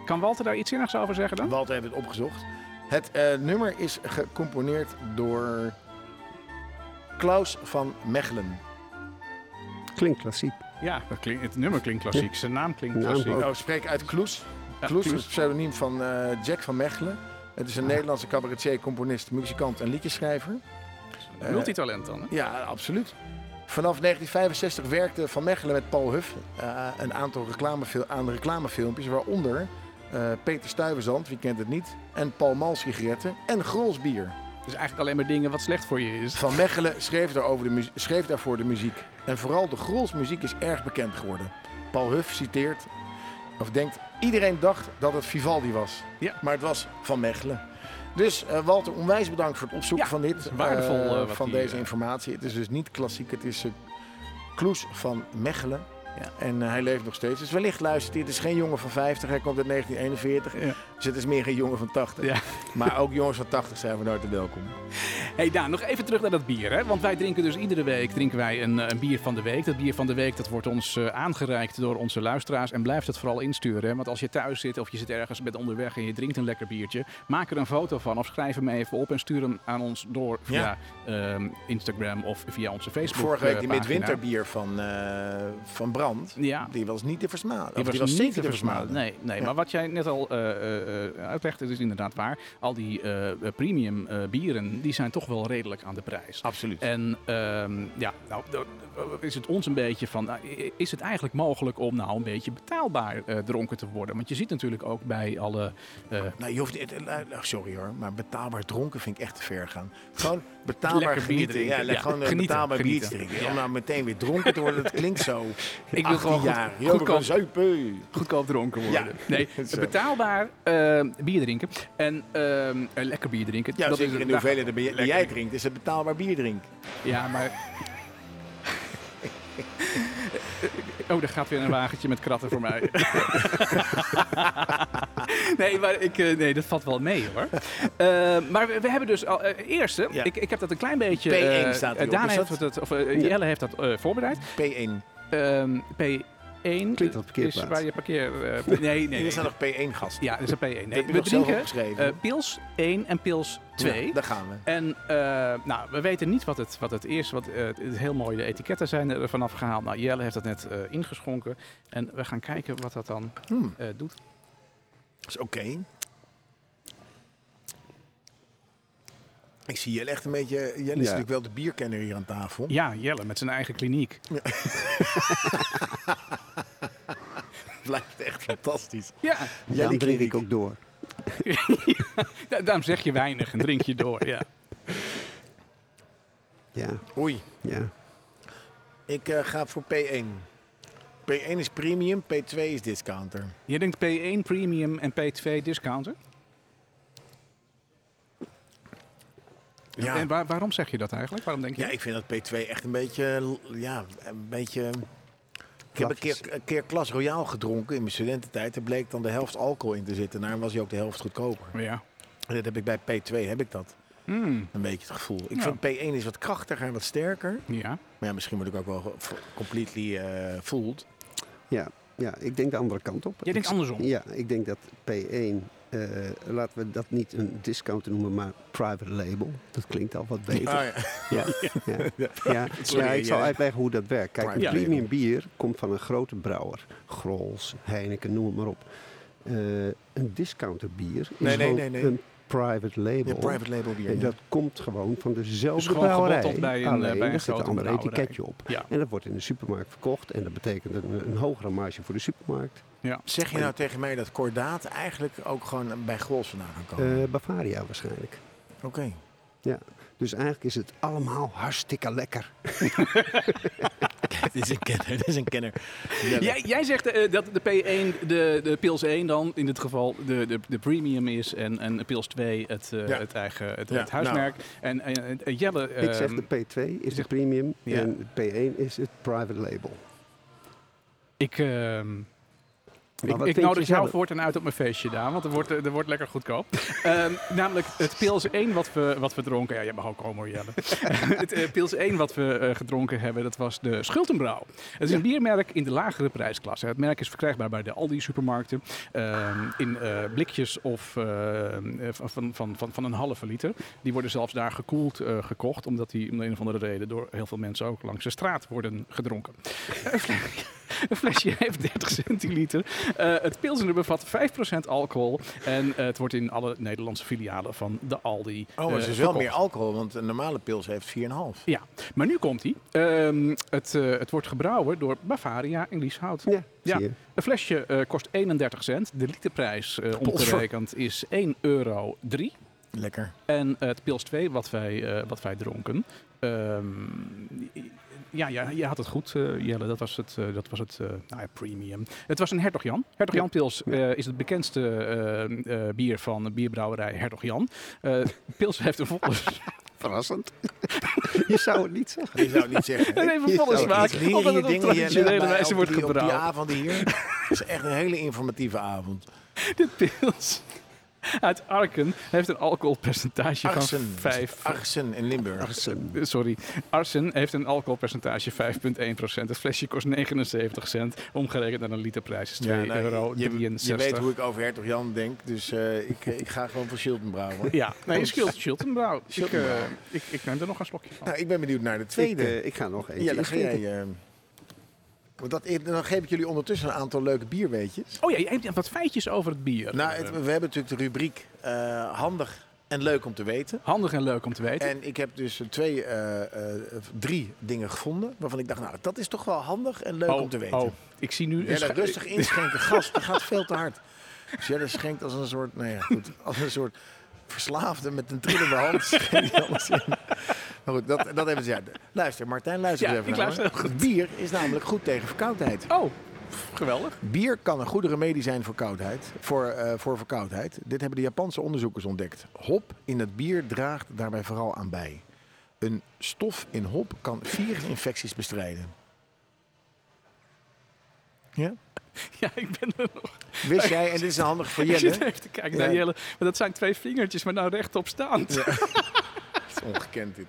B: Kan Walter daar iets zinnigs over zeggen dan?
C: Walter heeft het opgezocht. Het eh, nummer is gecomponeerd door Klaus van Mechelen.
D: Klinkt klassiek.
B: Ja, dat klinkt, het nummer klinkt klassiek. Zijn naam klinkt
D: Naam
B: klassiek.
D: ook.
C: Oh, spreek uit Kloes.
B: Ja,
C: Kloes Ah. is
B: Kloes.
C: het pseudoniem van eh, Jack van Mechelen. Het is een Nederlandse cabaretier, componist, muzikant en liedjeschrijver. Eh,
B: Multitalent dan. hè?
C: Ja, absoluut. Vanaf 1965 werkte Van Mechelen met Paul Huff eh, een aantal reclamefil- aan reclamefilmpjes, waaronder eh, Peter Stuyvesant, wie kent het niet, en Paul Mal sigaretten en Grols bier.
B: Dus eigenlijk alleen maar dingen wat slecht voor je is.
C: Van Mechelen schreef, daarover de mu- schreef daarvoor de muziek. En vooral de Grols muziek is erg bekend geworden. Paul Huff citeert, of denkt, iedereen dacht dat het Vivaldi was.
B: Ja.
C: Maar het was Van Mechelen. Dus eh, Walter, onwijs bedankt voor het opzoeken
B: Ja,
C: van dit.
B: is waardevol,
C: eh,
B: eh, wat
C: van
B: hier,
C: deze
B: eh,
C: informatie. Het is dus niet klassiek, het is eh, Kloes van Mechelen.
B: Ja.
C: En eh, hij leeft nog steeds. Dus wellicht luistert hij. Het is geen jongen van 50, hij komt uit 1941.
B: Ja.
C: Dus het is meer geen jongen van 80.
B: Ja.
C: Maar ook jongens van 80 zijn van harte welkom.
B: Hey Daan, nog even terug naar dat bier. Hè? Want wij drinken dus iedere week drinken wij een, eh, een bier van de week. Dat bier van de week dat wordt ons eh, aangereikt door onze luisteraars. En blijf dat vooral insturen. Hè? Want als je thuis zit of je zit ergens met onderweg en je drinkt een lekker biertje. Maak er een foto van of schrijf hem even op en stuur hem aan ons door via ehm, Instagram of via onze Facebook
C: Vorige week die
B: eh, pagina.
C: midwinterbier van, eh, van Brand.
B: Ja.
C: Die was niet te versmaden. Of
B: Die was, niet te versmaden. Nee, nee
C: Ja.
B: maar wat jij net al eh, eh, eh, uitlegt, het is inderdaad waar. Al die eh, premium eh, bieren, die zijn toch wel redelijk aan de prijs.
C: Absoluut.
B: En ehm, ja, nou dat- dat is het ons een beetje van, nou, i- is het eigenlijk mogelijk om nou een beetje betaalbaar eh, dronken te worden? Want je ziet natuurlijk ook bij alle... eh,
C: Nou, je hoeft, het- eh, eh, sorry hoor, maar betaalbaar dronken vind ik echt te ver gaan. Gewoon betaalbaar
B: Lekker bier
C: genieten.
B: drinken.
C: Ja, le-
B: Ja,
C: gewoon eh,
B: genieten,
C: betaalbaar bier te
B: genieten.
C: drinken.
B: Ja.
C: Om nou meteen weer dronken te worden, dat klinkt zo.
B: wil
C: 18
B: gewoon goed-
C: jaar.
B: goedkoop-
C: Goed, zuipen.
B: goedkoop dronken worden.
C: Ja.
B: Nee,
C: Zo.
B: betaalbaar eh, bier drinken en ehm, eh, lekker bier drinken.
C: Ja,
B: dat
C: zeker
B: is Nou,
C: in de
B: daar-
C: hoeveelheid die jij- die jij drinkt, is het betaalbaar bier drinken.
B: Ja, maar. Oh, er gaat weer een wagentje met kratten voor mij. nee, maar ik, eh, nee, dat valt wel mee hoor. Eh, maar we, we hebben dus al, eh, eerst, hè,
C: Ja.
B: ik, ik heb dat een klein beetje.
C: P1
B: eh,
C: staat hierop,
B: Daan
C: is
B: heeft
C: dat?
B: het, of eh, Jelle heeft dat eh, voorbereid.
C: P1.
B: Ehm, P1
D: Klinkt
B: is
D: als parkeerplaats.
B: waar je parkeer. eh, nee, nee,
C: Hier
B: nee.
C: staat nog P1 gast.
B: Ja, dat is een P1. Nee,
C: heb
B: we
C: je nog zelf
B: drinken
C: opgeschreven.
B: eh, pils 1 en pils 2.
C: Ja, daar gaan we.
B: En eh, nou, we weten niet wat het, wat het is. Wat, eh, het is heel mooi, de etiketten zijn er vanaf gehaald. Nou, Jelle heeft dat net eh, ingeschonken. En we gaan kijken wat dat dan
C: Hmm,
B: eh, doet.
C: is oké. Ik zie Jelle echt een beetje... Jelle is natuurlijk wel de bierkenner hier aan tafel.
B: Ja, Jelle met zijn eigen kliniek.
C: Blijft echt fantastisch.
B: Ja,
C: Jij die
D: Daarom drink
C: kliniek.
D: ik ook door.
B: da- daarom zeg je weinig en drink je door. Ja.
D: Ja,
C: Oei.
D: ja.
C: Ik eh, ga voor P1. P1 is premium, P2 is discounter.
B: Je denkt P1 premium en P2 discounter?
C: Ja.
B: En waar- waarom zeg je dat eigenlijk? Waarom denk je
C: Ja, ik vind dat P2 echt een beetje... eh, l- Ja, een beetje... Ik heb een keer, een keer Klas Royaal gedronken in mijn studententijd. Er bleek dan de helft alcohol in te zitten. Daarom was hij ook de helft goedkoper.
B: Ja.
C: En dat heb ik bij P2, heb ik dat.
B: Hmm,
C: Een beetje het gevoel. Ik
B: Ja.
C: vind P1 is wat krachtiger en wat sterker.
B: ja.
C: Maar ja, misschien word ik ook wel ge- vo- completely eh fooled.
D: Ja, ja, ik denk de andere kant op.
B: Jij denkt
D: Ik-
B: andersom.
D: Ja, ik denk dat P1, eh, laten we dat niet een discounter noemen, maar private label. Dat klinkt al wat beter.
C: Ah, ja.
D: Ja, ja. ja. ja, ik zal uitleggen hoe dat werkt. Kijk, een
C: Ja.
D: premium bier komt van een grote brouwer. Grols, Heineken, noem het maar op. Eh, een discounter bier is
C: Nee, nee,
D: gewoon
C: nee, nee.
D: een private label.
C: Ja, private label bier.
D: En
C: ja.
D: dat komt gewoon van dezelfde
B: Dus gewoon
D: brouwerij.
B: gebotteld bij een, eh,
D: alleen,
B: bij een
D: er zit een
B: grote
D: ander
B: brouwerij.
D: etiketje op.
B: Ja.
D: En dat wordt in de supermarkt verkocht. En dat betekent een, een hogere marge voor de supermarkt.
C: Zeg je nou tegen mij dat Cordaat eigenlijk ook gewoon bij Grols vandaan kan komen?
D: Eh, Bavaria waarschijnlijk.
C: Oké.
D: Ja. Dus eigenlijk is het allemaal hartstikke lekker.
C: Dit is een kenner, dit is een kenner.
B: Jij, jij zegt eh, dat de P1, de, de Pils 1 dan in dit geval de, de, de premium is en, en Pils 2 het, eh,
C: Ja.
B: het eigen het,
C: Ja,
B: het huismerk. En, en, en Jelle,
D: nou. ik zeg
B: ehm,
D: de P2 is de
B: zeg-
D: premium
B: Ja.
D: en de P1 is het private label.
B: ik, ehm,
D: Maar
B: ik,
D: wat
B: ik
D: vind
B: nodig
D: je
B: jou
D: zelf?
B: voortaan uit op mijn feestje, Daan, want er wordt, eh, er wordt lekker goedkoop. Ehm, namelijk het Pils 1 wat we, wat we dronken, ja, jij mag ook komen hoor, Jelle. het eh, Pils 1 wat we eh, gedronken hebben, dat was de Schultenbrouw. Het is een biermerk in de lagere prijsklasse. Het merk is verkrijgbaar bij de Aldi-supermarkten ehm, in eh, blikjes of ehm, eh, van, van, van, van een halve liter. Die worden zelfs daar gekoeld eh, gekocht, omdat die om de een of andere reden door heel veel mensen ook langs de straat worden gedronken. Eh, fle- Een flesje heeft 30 centiliter. Eh, het pilsner bevat 5% alcohol. En eh, het wordt in alle Nederlandse filialen van de Aldi
C: Oh, maar
B: eh,
C: er is wel
B: verkocht.
C: meer alcohol, want een normale pils heeft 4,5.
B: Ja, maar nu komt hij. het, eh, het wordt gebrouwen door Bavaria en Lieshout.
D: Ja,
B: Ja.
D: zie je.
B: Een flesje eh, kost 31 cent. De literprijs eh omgerekend is 1,03 euro.
C: Lekker.
B: En eh, het pils 2 wat wij, eh, wat wij dronken. ehm, ja, ja, je had het goed, eh, Jelle. Dat was het, eh, dat was het eh, nou ja, premium. Het was een Hertog Jan. Hertog Jan Pils eh, is het bekendste eh, eh, bier van de bierbrouwerij Hertog Jan. Eh, Pils heeft er volgens
D: Verrassend. je zou het niet zeggen.
C: Je zou het niet zeggen.
B: Nee, even volle
D: zou
B: smaak.
C: Ik leer
B: Omdat
C: hier
B: het op
C: dingen die je net
B: traditionele
C: bij
B: wijze
C: op
B: wordt
C: die- op die
B: gebrouwen.
C: avond hier. Het is echt een hele informatieve avond.
B: De pils uit Arken heeft een alcoholpercentage
C: Arsen.
B: van 5...
C: Arsen in Limburg.
B: Eh, Sorry, Arsen heeft een alcoholpercentage 5,1%. Het flesje kost 79 cent. Omgerekend naar een literprijs is 2,63
C: Ja, nou,
B: euro.
C: je, je weet hoe ik over Hertog Jan denk, dus eh, ik, ik ga gewoon voor Shilton brouwen. hoor.
B: Ja, nee, Schild- Schiltenbrouw. Ik, eh,
C: Schiltenbrouw.
B: ik, ik neem er nog een slokje van.
C: Nou, ik ben benieuwd naar de
D: Ik,
C: tweede.
D: eh, ik ga nog eentje
C: ja, dan ga jij...
D: inschenken.
C: eh, want dat, dan geef ik jullie ondertussen een aantal leuke bierweetjes.
B: Oh ja, je hebt wat feitjes over het bier.
C: Nou,
B: Eh,
C: het- we hebben natuurlijk de rubriek eh, handig en leuk om te weten.
B: Handig en leuk om te weten.
C: En ik heb dus twee, eh, eh, drie dingen gevonden waarvan ik dacht, nou, dat is toch wel handig en leuk
B: oh,
C: om te weten.
B: oh, ik zie nu...
C: Ja,
B: een
C: dan
B: scha-
C: rustig inschenken. Gast, dat gaat veel te hard. Dus jij dat schenkt als een soort, nou ja, goed, als een soort verslaafde met een trillende hand. schenkt hij alles in. Maar goed, dat, dat hebben ze. Ja. Luister, Martijn, luister
B: Ja,
C: eens even.
B: ik
C: naar
B: luister
C: me. Bier is namelijk goed tegen verkoudheid.
B: Oh, geweldig.
C: Bier kan een goede remedie zijn voor, koudheid, voor, eh, voor verkoudheid. Dit hebben de Japanse onderzoekers ontdekt. Hop in het bier draagt daarbij vooral aan bij. Een stof in hop kan virusinfecties bestrijden. Ja?
B: Ja, ik ben er nog.
C: Wist jij, en dit is handig voor
B: Ik zit
C: Jelle.
B: even te kijken naar
C: Ja.
B: Jelle. Maar dat zijn twee vingertjes, maar nou rechtop staand.
C: Het is ongekend dit.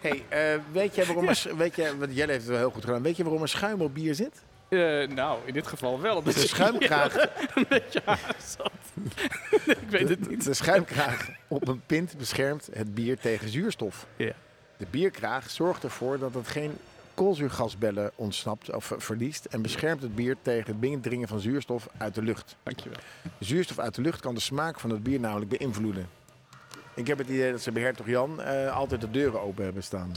C: Hey, eh, weet jij waarom... er- Weet jij, want Jelle heeft het wel heel goed gedaan. Weet je waarom er schuim op bier zit?
B: Eh, nou, in dit geval wel. Dat
C: De schuimkraag,
B: een beetje aan zat. Nee, ik weet het niet.
C: de schuimkraag op een pint beschermt het bier tegen zuurstof.
B: Ja.
C: De bierkraag zorgt ervoor dat het geen koolzuurgasbellen ontsnapt of eh, verliest... en beschermt het bier tegen het binnendringen van zuurstof uit de lucht.
B: Dankjewel.
C: Zuurstof uit de lucht kan de smaak van het bier namelijk beïnvloeden. Ik heb het idee dat ze bij Hertog Jan eh, altijd de deuren open hebben staan.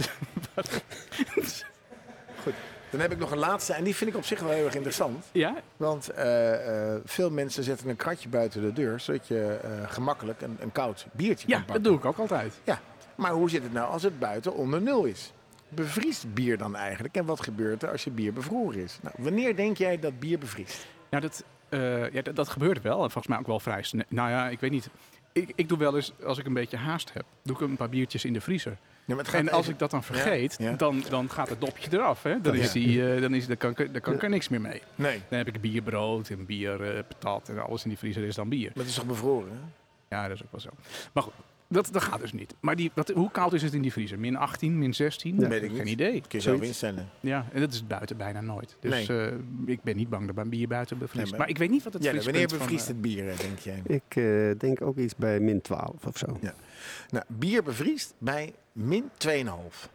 C: Goed. Dan heb ik nog een laatste en die vind ik op zich wel heel erg interessant.
B: Ja,
C: Want eh, eh, veel mensen zetten een kratje buiten de deur, zodat je eh, gemakkelijk een, een koud biertje
B: ja
C: kan
B: dat
C: pakken.
B: doe ik ook altijd.
C: Ja, maar hoe zit het nou als het buiten onder nul is? Bevriest bier dan eigenlijk? En wat gebeurt er als je bier bevroren is? Nou, wanneer denk jij dat bier bevriest?
B: Nou, dat, eh, ja, dat, dat gebeurt wel. En volgens mij ook wel vrij snel. Nou ja, ik weet niet. Ik, ik doe wel eens, als ik een beetje haast heb, doe ik een paar biertjes in de vriezer.
C: Ja, maar het
B: En als
C: even-
B: ik dat dan vergeet,
C: Ja, ja.
B: Dan, dan gaat het dopje eraf. Hè? Dan, is
C: Ja.
B: die, eh, dan, is, dan kan, ik- dan kan ik er niks meer mee.
C: Nee,
B: Dan heb ik bierbrood en bier, eh, patat en alles in die vriezer is dan bier.
C: maar het is toch bevroren? hè?
B: Ja, dat is ook wel zo. Maar goed, dat, dat gaat dus niet. Maar die, wat, hoe koud is het in die vriezer? Min 18, min 16?
C: Ja. Weet ik
B: Geen
C: niet.
B: idee.
C: Kun je zelf
D: Zoiets.
C: instellen.
B: Ja, en dat is buiten bijna nooit. Dus eh, ik ben niet bang dat mijn bier buiten bevriest.
C: Nee,
B: maar...
C: maar-
B: ik weet niet wat het
C: Ja, nou,
B: vriespunt van,
C: wanneer bevriest
B: eh,
C: het bier, hè, denk jij?
D: Ik eh, denk ook iets bij min 12 of zo.
C: Ja. Nou, bier bevriest bij min 2,5.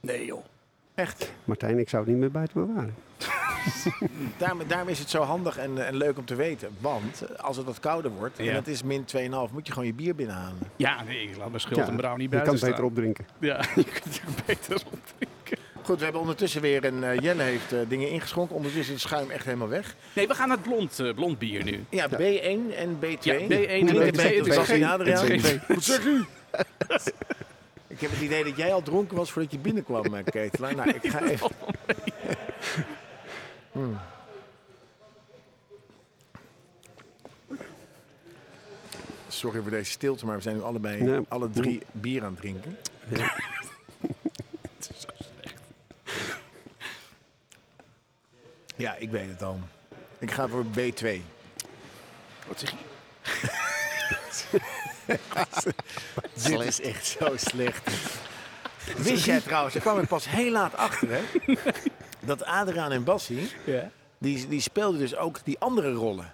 B: Nee joh.
C: Echt.
D: Martijn, ik zou het niet meer buiten bewaren.
C: Daarom, daarom is het zo handig en, eh, en leuk om te weten. Want eh, als het wat kouder wordt
B: Ja.
C: en het is min 2,5, moet je gewoon je bier binnenhalen.
B: Ja, nee, ik laat mijn schild en brouw niet
D: je kan
B: buiten
D: het beter
B: staan.
D: opdrinken.
B: Ja, je kunt het beter opdrinken.
C: Goed, we hebben ondertussen weer een... eh, Jelle heeft eh, dingen ingeschonken. Ondertussen is het schuim echt helemaal weg.
B: Nee, we gaan naar het blond, eh, blond bier nu.
C: Ja, B1 en B2.
B: Ja, B1 en
C: Hoe heet
B: B2.
C: het?
B: Het is
C: B2,
B: geen-
C: Adriaan?
B: het is geen
C: Wat zeg u? Ik heb het idee dat jij al dronken was voordat je binnenkwam, eh, Ketelaar. Nou, ik ga even... Hmm. Sorry voor deze stilte, maar we zijn nu allebei
D: Ja.
C: alle drie bier aan het drinken. Ja, ik weet het al. Ik ga voor B2.
B: Wat zeg je?
C: Dit is echt zo slecht. Wist jij trouwens, daar kwam ik pas heel laat achter, hè? Dat Adriaan en Bassie,
B: Ja.
C: die, die speelden dus ook die andere rollen.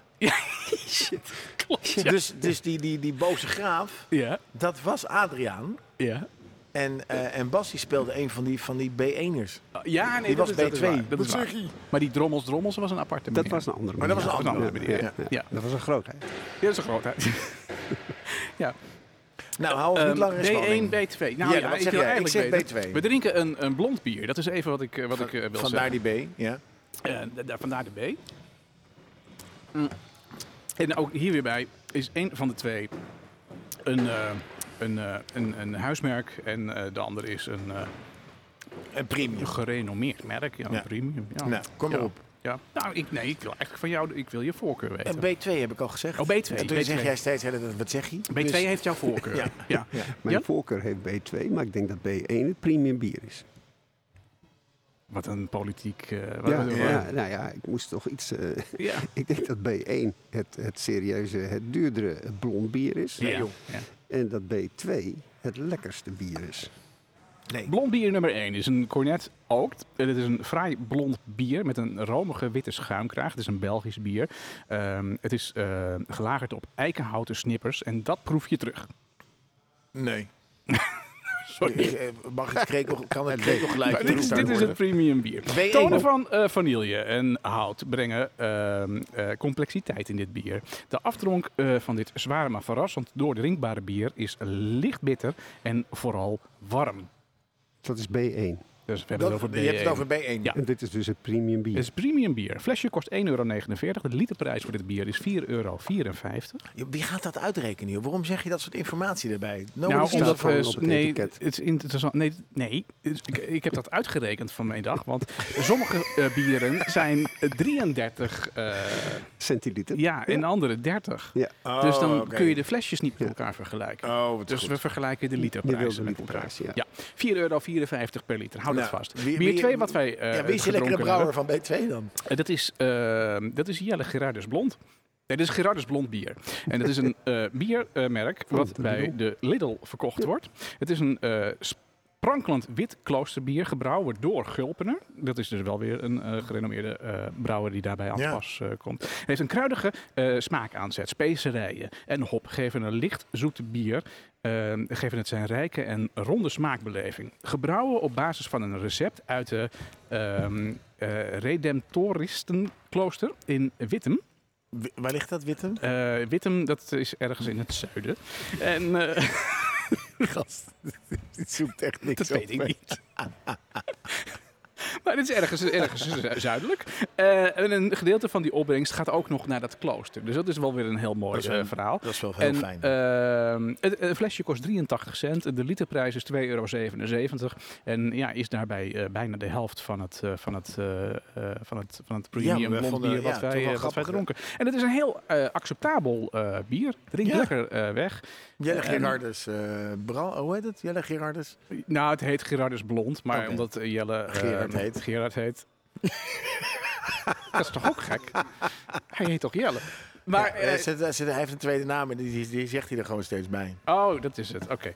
B: Shit, klopt. Ja.
C: Dus, dus die, die, die boze graaf,
B: ja,
C: dat was Adriaan.
B: ja.
C: En, eh en Bassie speelde een van die, van die B1'ers.
B: Oh, Ja, nee, dat
C: Die was
B: is, dat is
C: B2.
B: waar, Dat is
C: Wat
B: waar.
C: zeg je?
B: Maar die drommels drommels was een aparte
D: Dat
B: meneer.
D: was een andere
C: Maar dat was een andere
B: meneer, ja. Ja.
D: Dat was een grootheid.
B: Ja, dat is een grootheid. ja.
C: Nou, hou ons niet
B: Ehm,
C: langer in
B: B1,
C: spanning.
B: B2.
C: Ja,
B: Nou ja,
C: wat
B: ik
C: zeg
B: wil
C: jij? Ik
B: eigenlijk
C: zeg
B: weten-
C: B2.
B: We drinken een, een blond bier. Dat is even wat ik, eh, wat ik eh, wil
C: Vandaar
B: zeggen.
C: die B. Ja.
B: Eh, da- vandaar de B. Mm. En ook hier weer bij is een van de twee een, eh, een, eh, een, een huismerk en eh, de ander is een eh,
C: Een premium.
B: gerenommeerd merk. Ja, een
C: Ja.
B: premium. Ja.
C: Nou, kom
B: Ja.
C: maar op.
B: Ja. Nou, ik, nee, ik wil eigenlijk van jou, ik wil je voorkeur weten.
C: En B2 heb ik al gezegd.
B: Oh, B2,
C: En toen
B: B2.
C: zeg jij steeds, de hele tijd, wat zeg je?
B: B2
C: Dus-
B: heeft jouw voorkeur.
C: Ja.
B: ja.
C: Ja.
D: Mijn
B: Ja?
D: voorkeur heeft B2, maar ik denk dat B1 het premium bier is.
B: Wat een politiek. eh, wat
D: Ja,
B: een-
D: ja. nou ja, ik moest toch iets... eh,
B: ja.
D: ik denk dat B1 het, het serieuze, het duurdere, het blond bier is.
B: Ja. Ja.
D: En dat B2 het lekkerste bier is.
C: Nee.
B: Blond bier nummer 1 is een cornet ookt. Eh, Dit is een fraai blond bier met een romige witte schuimkraag. Het is een Belgisch bier. Ehm, het is eh, gelagerd op eikenhouten snippers en dat proef je terug.
C: Nee.
B: Sorry.
C: Eh, Mag het krekel, kan het
B: Maar
C: krekelgeluid
B: dit, is, dit is het premium bier.
C: B1.
B: Tonen van eh, vanille en hout brengen ehm, eh, complexiteit in dit bier. De afdronk eh, van dit zware maar verrassend doordrinkbare bier is licht bitter en vooral warm.
D: Dat is B1.
B: Dus we hebben
C: Dat-
B: het over B1.
C: je hebt het over B1.
B: Ja.
D: En dit is dus het premium bier.
B: Het is premium bier. Flesje kost 1,49 euro. De literprijs voor dit bier is 4,54 euro.
C: Ja, Wie gaat dat uitrekenen? joh? Waarom zeg je dat soort informatie erbij? Nobody
B: nou,
C: staat
B: omdat
D: gewoon
B: eh,
D: op het
B: nee,
D: etiket.
B: het is interessant. Nee, nee het- ik, ik heb dat uitgerekend van mijn dag. Want sommige eh, bieren zijn 33, eh,
D: Centiliter.
B: ja, en andere 30.
D: Ja.
C: Oh,
B: dus dan
C: oké.
B: kun je de flesjes niet met
D: Ja.
B: elkaar vergelijken.
C: Oh, wat
B: dus
C: goed.
B: we vergelijken de
D: Je wil
B: literprijzen
D: de
B: met elkaar.
D: literprijs, ja.
B: Ja, 4,54 euro per liter. Hou dat
C: Nou,
B: vast.
C: wie-
B: bier
C: wie-
B: 2 wat wij eh
C: ja, wie is
B: gedronken
C: die lekkere
B: hebben.
C: brouwer van B2 dan?
B: Eh, Dat is, eh, dat is Jelle Gerardus Blond. Nee, dit is Gerardus Blond bier. En dat is een eh, biermerk wat
D: de
B: bij
D: Lidl.
B: de Lidl verkocht wordt. Het is een eh sprankelend wit kloosterbier gebrouwen door Gulpener. Dat is dus wel weer een eh, gerenommeerde eh, brouwer die daarbij aan
C: Ja.
B: pas eh, komt. Het heeft een kruidige eh smaakaanzet. Specerijen en hop geven een licht zoet bier eh, geven het zijn rijke en ronde smaakbeleving. Gebrouwen op basis van een recept uit de ehm eh, Redemptoristenklooster in Wittem.
C: Wi- Waar ligt dat, Witte?
B: Eh Wittem, dat is ergens in het zuiden. En eh,
C: Gast, dit zoekt echt niks
B: dat
C: op.
B: weet ik niet. maar het is ergens, ergens zu- zuidelijk. Eh, en een gedeelte van die opbrengst gaat ook nog naar dat klooster. Dus dat is wel weer een heel mooi
C: Dat is wel-
B: eh, verhaal.
C: Dat is wel heel
B: En,
C: fijn.
B: ehm, het, een flesje kost 83 cent. De literprijs is 2,77 euro. En ja, is daarbij eh, bijna de helft van het, eh, van het, eh, eh, van het, van het premium
C: maar we
B: blond
C: vonden-
B: bier wat,
C: ja, toch
B: wij,
C: wel
B: eh, wat wij
C: grappig,
B: dronken. En het is een heel eh, acceptabel eh, bier. Drink
C: Ja.
B: lekker eh, weg.
C: Jelle
B: en-
C: Gerardus, eh, Bra- hoe heet het? Jelle Gerardus?
B: Nou, het heet Gerardus Blond. Maar
C: Oké.
B: omdat eh, Jelle eh,
C: Gerard heet.
B: Gerard heet. Dat is toch ook gek? Hij heet toch Jelle? Maar,
C: Ja, hij
B: eh,
C: zit- hij zit- hij heeft een tweede naam en die, die- die zegt hij er gewoon steeds bij.
B: Oh, dat is het. Oké.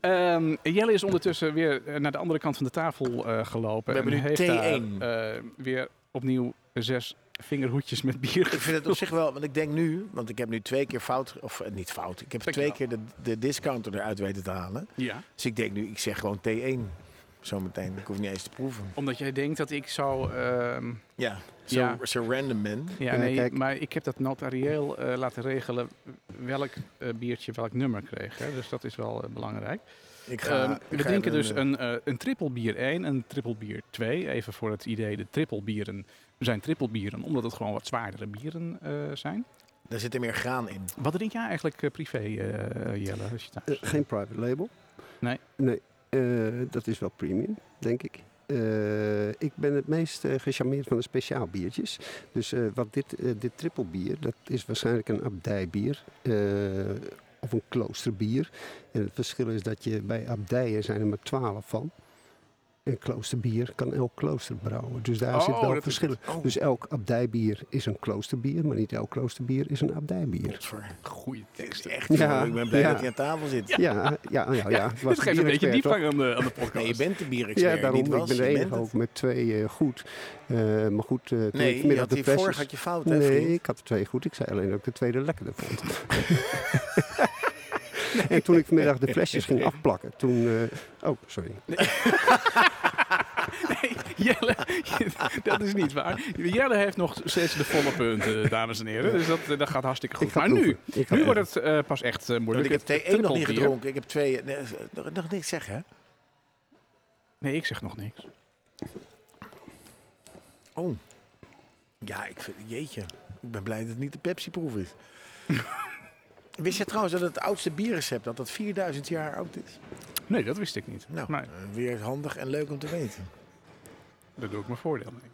B: Ehm, Jelle is ondertussen weer eh, naar de andere kant van de tafel eh, gelopen.
C: We
B: en
C: hebben nu
B: heeft
C: T1.
B: daar, eh, weer opnieuw zes vingerhoedjes met bier.
C: Ik vind het op zich wel, want ik denk nu, want ik heb nu twee keer fout, of eh, niet fout, ik heb twee
B: Dankjewel.
C: keer de, de discounter eruit weten te halen.
B: Ja.
C: Dus ik denk nu, ik zeg gewoon T1 zometeen. Ik hoef niet eens te proeven.
B: Omdat jij denkt dat ik zo... ehm,
C: Ja, zo,
B: Ja.
C: zo random man.
B: ja,
D: Ja,
B: nee,
D: kijk.
B: maar ik heb dat notarieel eh, laten regelen welk eh, biertje welk nummer kreeg. Hè? Dus dat is wel eh, belangrijk.
C: Ik
B: Ehm,
C: ik
B: we drinken
C: even
B: dus een, eh een triple bier 1 en een triple bier 2. Even voor het idee, de triple bieren zijn triple bieren, omdat het gewoon wat zwaardere bieren eh, zijn.
C: Daar zit er meer graan in.
B: Wat drink jij eigenlijk eh, privé, eh, eh, Jelle? Als je thuis
D: Eh,
B: bent?
D: geen private label.
B: Nee.
D: Nee, eh, dat is wel premium, denk ik. Eh, ik ben het meest eh, gecharmeerd van de speciaal biertjes. Dus eh, wat dit, eh, dit trippelbier, dat is waarschijnlijk een abdijbier. eh, of een kloosterbier. En het verschil is dat je bij abdijen zijn er maar twaalf van. En kloosterbier kan elk klooster brouwen. Dus daar
B: Oh,
D: zit
B: dat
D: wel
B: is-
D: verschil. in.
C: Oh,
D: Dus elk abdijbier is een kloosterbier, maar niet elk kloosterbier is een abdijbier.
C: godver.
B: goede
C: Dit is
B: teksten.
C: echt,
D: Ja,
C: jongen, ik ben blij
D: ja.
C: dat hij aan tafel zit.
D: Ja, ja, ja. ja, het was
B: Dit geeft een beetje
D: bierexpert, toch?
B: diepgang aan de, aan de podcast.
C: Nee, je bent de
D: Ja,
C: bierexpert.
D: daarom.
C: niet
D: Ik
C: was,
D: ben de
C: je
D: enige
C: bent het.
D: ook met twee eh, goed. Eh, maar goed, eh, toen ik
C: Nee, je
D: vanmiddag
C: had
D: de
C: die
D: pers
C: vorig had je fout, hè,
D: Nee,
C: vriend?
D: ik had er twee goed. Ik zei alleen dat ik de tweede lekkerder vond. En toen ik vanmiddag de flesjes ging afplakken, toen... eh, oh, sorry.
B: Nee, Jelle, dat is niet waar. Jelle heeft nog steeds de volle punten, dames en heren. Dus dat, eh, dat gaat hartstikke goed.
D: Ik ga
B: Maar nu,
D: proeven. Ik ga
B: nu
D: proeven.
B: wordt het eh, pas echt eh,
C: Want
B: moeilijk.
C: ik heb
B: Het-
C: thee
B: het
C: 1 nog niet
B: komt hier.
C: gedronken. Ik heb twee... Nee, eh, nog, nog niks zeggen, hè?
B: Nee, ik zeg nog niks.
C: Oh. Ja, ik vind, jeetje. Ik ben blij dat het niet de Pepsi-proef is. Wist je trouwens dat het oudste bierrecept dat dat 4000 jaar oud is?
B: Nee, dat wist ik niet.
C: Nou,
B: Nee,
C: eh, weer handig en leuk om te weten.
B: daar doe ik mijn voordeel mee.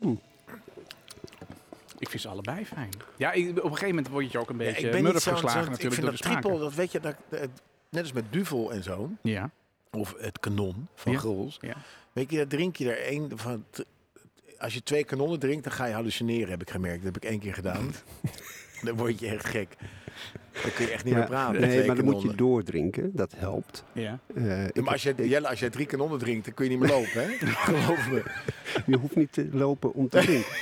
D: Hm.
B: Ik vind ze allebei fijn. Ja, ik- op een gegeven moment word je ook een
C: Ja,
B: beetje
C: niet
B: murf
C: zo'n-
B: geslagen
C: zo'n-
B: natuurlijk
C: Ik vind
B: door
C: dat
B: de smaken.
C: triple, dat weet je, dat, dat- net als met Duvel en zo,
B: Ja,
C: of het kanon van
B: Ja.
C: Grols.
B: ja.
C: Weet je, daar drink je er één van. t- Als je twee kanonnen drinkt, dan ga je hallucineren, heb ik gemerkt. Dat heb ik één keer gedaan. dan word je echt gek. Dan kun je echt niet meer praten.
D: nee,
C: twee
D: maar dan moet je
C: kanonnen.
D: doordrinken. Dat helpt.
B: ja.
D: Eh, ik-
C: Maar als jij, Jelle, als jij drie kanonnen drinkt, dan kun je niet meer lopen, hè? Geloof me.
D: je hoeft niet te lopen om te drinken.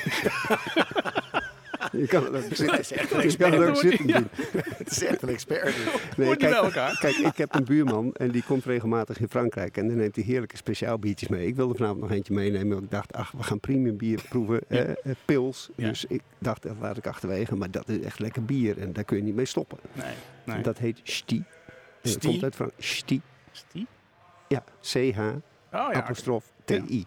D: je kan het ook
C: Dit
D: zitten.
C: is echt een
D: Je kan
C: expert.
D: het ook zitten
B: Ja.
D: doen.
C: Het is echt een expert. nou?
D: Nee,
B: Hoort niet bij
D: kijk,
B: elkaar.
D: kijk, ik heb een buurman en die komt regelmatig in Frankrijk. En dan neemt hij heerlijke speciaal biertjes mee. Ik wilde vanavond nog eentje meenemen. Want ik dacht, ach, we gaan premium bier proeven. eh, eh, pils.
B: Ja.
D: Dus ik dacht, dat laat ik achterwege. Maar dat is echt lekker bier. En daar kun je niet mee stoppen.
B: Nee, nee.
D: Dat heet Sti. En Dat
C: Sti?
D: komt uit Frankrijk. Sti.
B: Is die?
D: Ja, CH,
B: Oh ja, Oh.
D: apostrof, TI.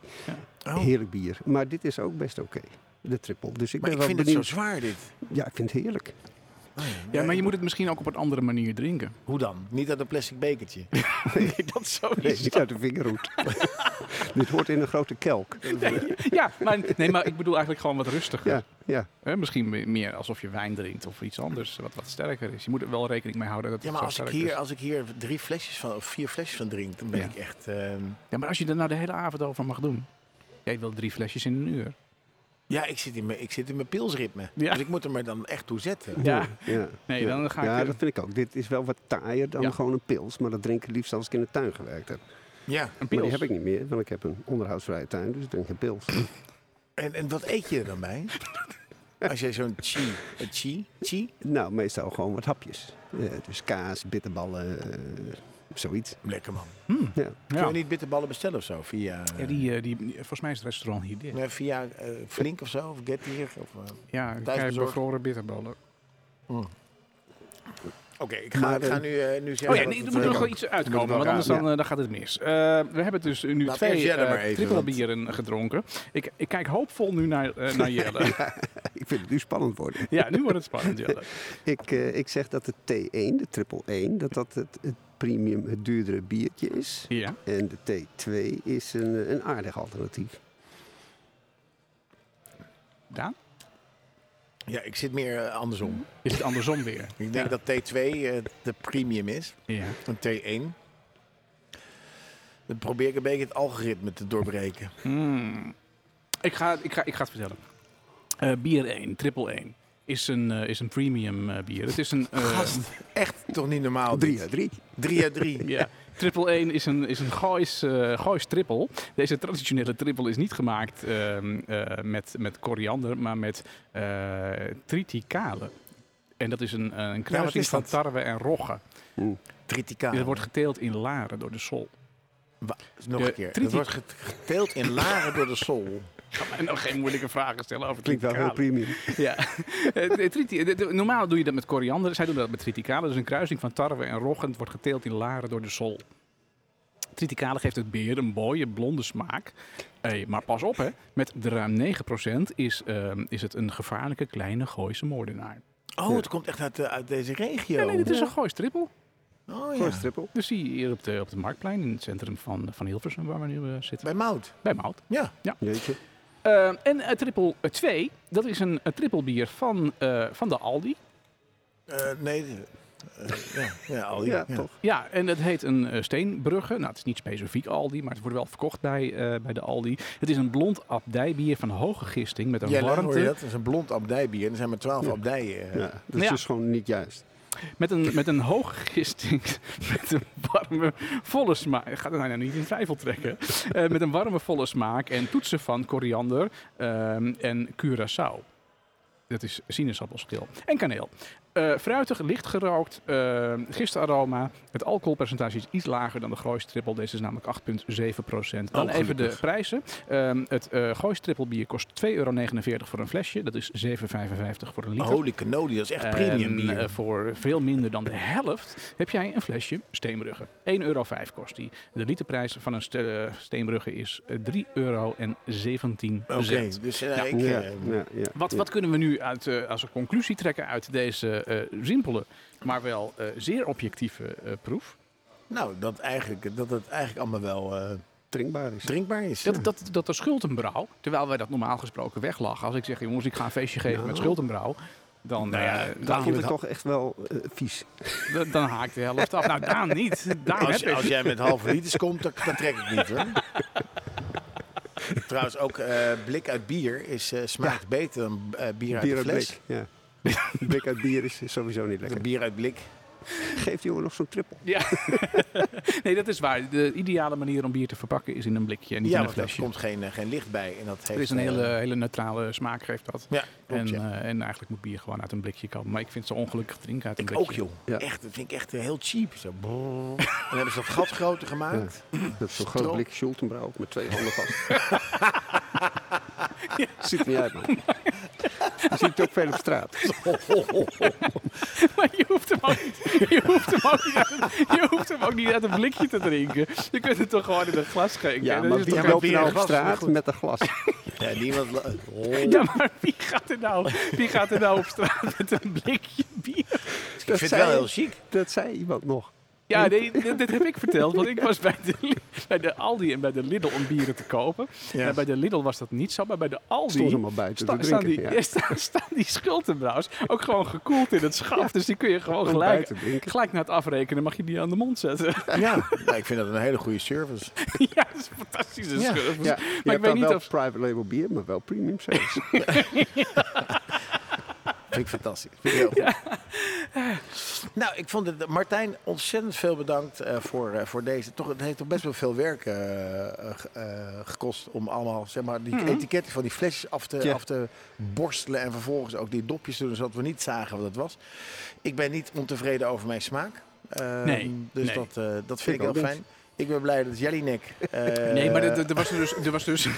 C: Oh,
D: Heerlijk bier. Maar dit is ook best oké. De triple. Dus ik
C: Maar
D: ben
C: ik
D: wel
C: vind het zo
D: benieuwd.
C: zwaar, dit. Oh,
D: Ja, ik vind het heerlijk.
B: Ja, maar je moet het misschien ook op een andere manier drinken.
C: Hoe dan? Niet uit een plastic bekertje.
B: Nee, dat zo
D: Nee, niet uit de vingerhoed. dit hoort in een grote kelk.
B: Ja, maar, nee, maar ik bedoel eigenlijk gewoon wat rustiger.
D: Ja, ja.
B: Hè, misschien me- meer alsof je wijn drinkt of iets anders wat, wat sterker is. Je moet er wel rekening mee houden dat het
C: Ja, maar
B: zo
C: als ik, dus-
B: sterk
C: hier,
B: is.
C: als ik hier drie flesjes van, of vier flesjes van drink, dan ben
B: Ja.
C: ik echt... ehm,
B: Ja, maar als je er nou de hele avond over mag doen. Jij wil drie flesjes in een uur.
C: ja, ik zit in mijn, ik zit in mijn pilsritme.
B: Ja.
C: Dus ik moet er me dan echt toe zetten.
B: Ja.
D: Ja.
B: Nee,
D: ja.
B: dan ga ik
D: ja,
B: weer-
D: dat vind ik ook. Dit is wel wat taaier dan
B: Ja.
D: gewoon een pils. Maar dat drink ik liefst als ik in de tuin gewerkt heb.
C: Ja.
B: Een
D: Maar
B: pils.
D: die heb ik niet meer, want ik heb een onderhoudsvrije tuin. Dus ik drink geen pils.
C: En, en wat eet je er dan bij? Als jij zo'n chi, een chi, chi,
D: nou, meestal gewoon wat hapjes. Eh, dus kaas, bitterballen, eh, zoiets.
C: lekker man.
B: Hm.
D: Ja.
C: Kun
B: Ja.
C: je niet bitterballen bestellen of zo? Via,
B: Ja, die, eh, die, volgens mij is het restaurant hier dit.
C: eh, via eh, Flink of zo, of Get Here, Of, eh.
B: Ja, ik krijg
C: Thuisbezorgd.
B: bevroren bitterballen.
C: Oké, ik ga,
D: Maar,
C: ik ga
D: eh,
C: nu, eh, nu zeggen...
B: Oh ja,
C: dat
B: nee, er
C: het,
B: moet
C: eh,
B: nog wel iets uitkomen,
C: Moet het
B: want
C: wel
B: anders
C: gaan.
B: dan, eh, dan gaat het mis. Eh, we hebben dus nu
C: Laat eerst
B: twee
C: Jelle maar
B: eh
C: even,
B: trippelbieren gedronken. Ik, ik kijk hoopvol nu naar, eh, naar Jelle.
D: Ik vind het nu spannend worden.
B: ja, nu wordt het spannend, Jelle.
D: Ik, eh, ik zeg dat de T1, de triple 1, dat dat het, het premium, het duurdere biertje is.
B: Ja.
D: En de T2 is een, eh, een aardig
B: Oh,
D: alternatief.
B: Daan?
C: Ja, ik zit meer eh, andersom.
B: Is het andersom weer?
C: Ik denk dat T2 eh, de premium is.
B: Ja.
C: Een T1. Dan probeer ik een beetje het algoritme te doorbreken.
B: Hmm. Ik, ga, ik, ga, ik ga het vertellen. Eh, bier 1, triple 1, is een, eh, is een premium eh, bier. Het is een... eh,
C: Gast, echt toch niet normaal.
D: 3 uit 3.
C: 3 uit 3.
B: Ja, triple 1 is een, is een Goois, eh Goois triple. Deze traditionele triple is niet gemaakt ehm, eh, met, met koriander, maar met eh triticale. En dat is Ah. een, eh, een kruising
C: is
B: van
C: dat?
B: tarwe en rogge.
C: Tritica.
B: Dat wordt geteeld in laren door de sol.
C: Wa- Nog
B: de
C: een keer.
B: triti-
C: Het wordt get- geteeld in laren door de sol.
B: Ga mij nou geen moeilijke vragen stellen over
D: Klinkt wel heel
B: triticale.
D: premium.
B: Ja. Eh, de triti- de- de- Normaal doe je dat met koriander. Zij doen dat met triticale. Dus een kruising van tarwe en roggen. Het wordt geteeld in laren door de sol. Triticale geeft het beer een mooie blonde smaak. Hey, maar pas op, hè. met de ruim 9% is, ehm, is het een gevaarlijke kleine Gooise moordenaar.
C: Oh, het komt echt uit, eh, uit deze regio.
B: Ja, nee, dit is een Goois trippel.
C: Oh ja.
D: Voor triple.
B: Dus zie je hier op de, op de Marktplein in het centrum van, van Hilversum, waar we nu eh, zitten.
C: Bij Mout.
B: Bij Mout.
C: Ja.
D: Jeetje.
B: Eh, en eh, triple 2, dat is een, een triple bier van, eh, van de Aldi.
C: Eh, nee. eh, ja, ja, al die.
D: Ja,
C: Ja,
D: toch.
B: Ja, en het heet een eh, steenbrugge. Nou, het is niet specifiek Aldi, maar het wordt wel verkocht bij, eh, bij de Aldi. Het is een blond abdijbier van hoge gisting met een
C: Jelle, hoor je
B: warmte.
C: dat? Dat is een blond abdijbier. En er zijn maar twaalf abdijen. eh.
D: Ja, dat is
B: Ja.
D: dus gewoon niet juist.
B: Met een, met een hoge gisting, met een warme, volle smaak. Ik ga er nou niet in twijfel trekken. Eh, met een warme, volle smaak en toetsen van koriander ehm, en curaçao. Dat is sinaasappelschil. En kaneel. Eh, Eh, fruitig, licht gerookt, eh gisteraroma. Het alcoholpercentage is iets lager dan de gooistrippel. Deze is namelijk 8,7 procent. Dan
C: Oh,
B: even de
C: gelukkig.
B: prijzen. Ehm, het eh gooistrippel bier kost 2,49 euro voor een flesje. Dat is 7,55 voor een liter.
C: Holy cannoli, dat is echt premium
B: En,
C: bier.
B: eh, voor veel minder dan de helft heb jij een flesje Steenbrugge. 1,05 euro kost die. De literprijs van een ste- eh, Steenbrugge is eh, 3,17 euro.
C: Oké, dus eh,
B: Ja.
C: ik,
D: ja,
C: eh,
D: ja, ja,
B: Wat,
D: ja.
B: wat kunnen we nu uit, eh, als een conclusie trekken uit deze eh, simpele, maar wel eh, zeer objectieve eh, proef?
C: nou, dat, eigenlijk, dat het eigenlijk allemaal wel eh,
D: drinkbaar is.
C: drinkbaar is.
B: Dat, dat, dat er schuldenbrouw, terwijl wij dat normaal gesproken weglachen. Als ik zeg, jongens, ik ga een feestje geven met schuldenbrouw. Dan,
C: Nou ja,
B: eh,
C: Daan
D: Dat
B: dan,
D: vond ik
B: dan,
D: toch echt wel eh, vies.
B: haakt de helft af. Nou, Daan niet. Daan heb
C: Als,
B: ik.
C: als jij met halve liters komt, dan, dan trek ik niet hoor. Trouwens, ook eh, blik uit bier is, eh, smaakt beter dan eh, bier uit
D: Bier
C: de
D: uit
C: fles.
D: blik. Ja. blik uit bier is sowieso niet lekker.
C: Bier uit blik.
D: Geeft die jongen nog zo'n trippel.
B: Ja, nee, dat is waar. De ideale manier om bier te verpakken is in een blikje en niet
C: Ja,
B: in een
C: want daar
B: flesje.
C: komt geen, eh, geen licht bij. En dat heeft,
B: Er is een
C: eh,
B: hele, hele neutrale smaak, geeft dat.
C: Ja,
B: En,
C: klopt, ja.
B: eh, en eigenlijk moet bier gewoon uit een blikje komen. Maar ik vind het zo ongelukkig drinken uit een
C: Ik
B: blikje.
C: ook, joh.
D: Ja.
C: Echt, dat vind ik echt eh, heel cheap. Zo. brrr. En dan hebben ze dat gat groter gemaakt.
D: Dat is zo'n groot
C: Strop.
D: blik Schultenbrouw ook met twee handen vast. Ziet er niet uit, man. Je ziet het ook veel op straat.
B: Maar je hoeft hem ook niet, je hoeft hem ook niet, uit, je hoeft hem ook niet uit een blikje te drinken. Je kunt het toch gewoon in een glas schenken.
D: Ja,
B: Dat
D: maar
B: is
D: wie
B: toch-
C: maar
D: loopt
C: bier
D: er
C: in
D: nou op
C: glas, maar
D: straat
C: goed.
D: met een glas?
C: Ja, niemand... la- Oh.
B: ja, maar wie gaat, er nou, wie gaat er nou op straat met een blikje bier?
C: ik vind het wel heel chic.
D: Dat zei iemand nog.
B: Ja, nee, dit, dit heb ik verteld. Want ik was bij de, Li- bij de Aldi en bij de Lidl om bieren te kopen.
C: Ja.
B: En bij de Lidl was dat niet zo, maar bij de Aldi...
D: Stonden ze maar buiten te
B: staan, die,
D: drinken, ja.
B: ja, staan, staan die schuldenbrouwers ook gewoon gekoeld in het schaf. Dus die kun je gewoon
D: Om
B: gelijk,
D: buiten te drinken.
B: gelijk na het afrekenen mag je die aan de mond zetten.
C: Ja, nou, ik vind dat een hele goede service.
B: ja, dat is een fantastische
C: Ja,
B: schuld.
D: Ja,
B: Maar ik weet niet
D: wel
B: of...
D: private label bier, maar wel premium sales.
C: Vind ik fantastisch. Vind ik heel goed. Nou, ik vond het, Martijn, ontzettend veel bedankt eh, voor, eh, voor deze. Toch, het heeft toch best wel veel werk eh, eh, ge- eh, gekost om allemaal zeg maar, die etiketten van die flesjes af te,
D: Ja.
C: af te borstelen. En vervolgens ook die dopjes te doen, zodat we niet zagen wat het was. Ik ben niet ontevreden over mijn smaak. Ehm,
B: Nee,
C: Dus
B: nee.
C: dat, eh, dat vind
D: Ik
C: ik,
D: ook
C: heel
D: niet.
C: fijn. Ik ben blij dat Jellinek... eh,
B: Nee, maar er- er- er was dus... Er was dus, er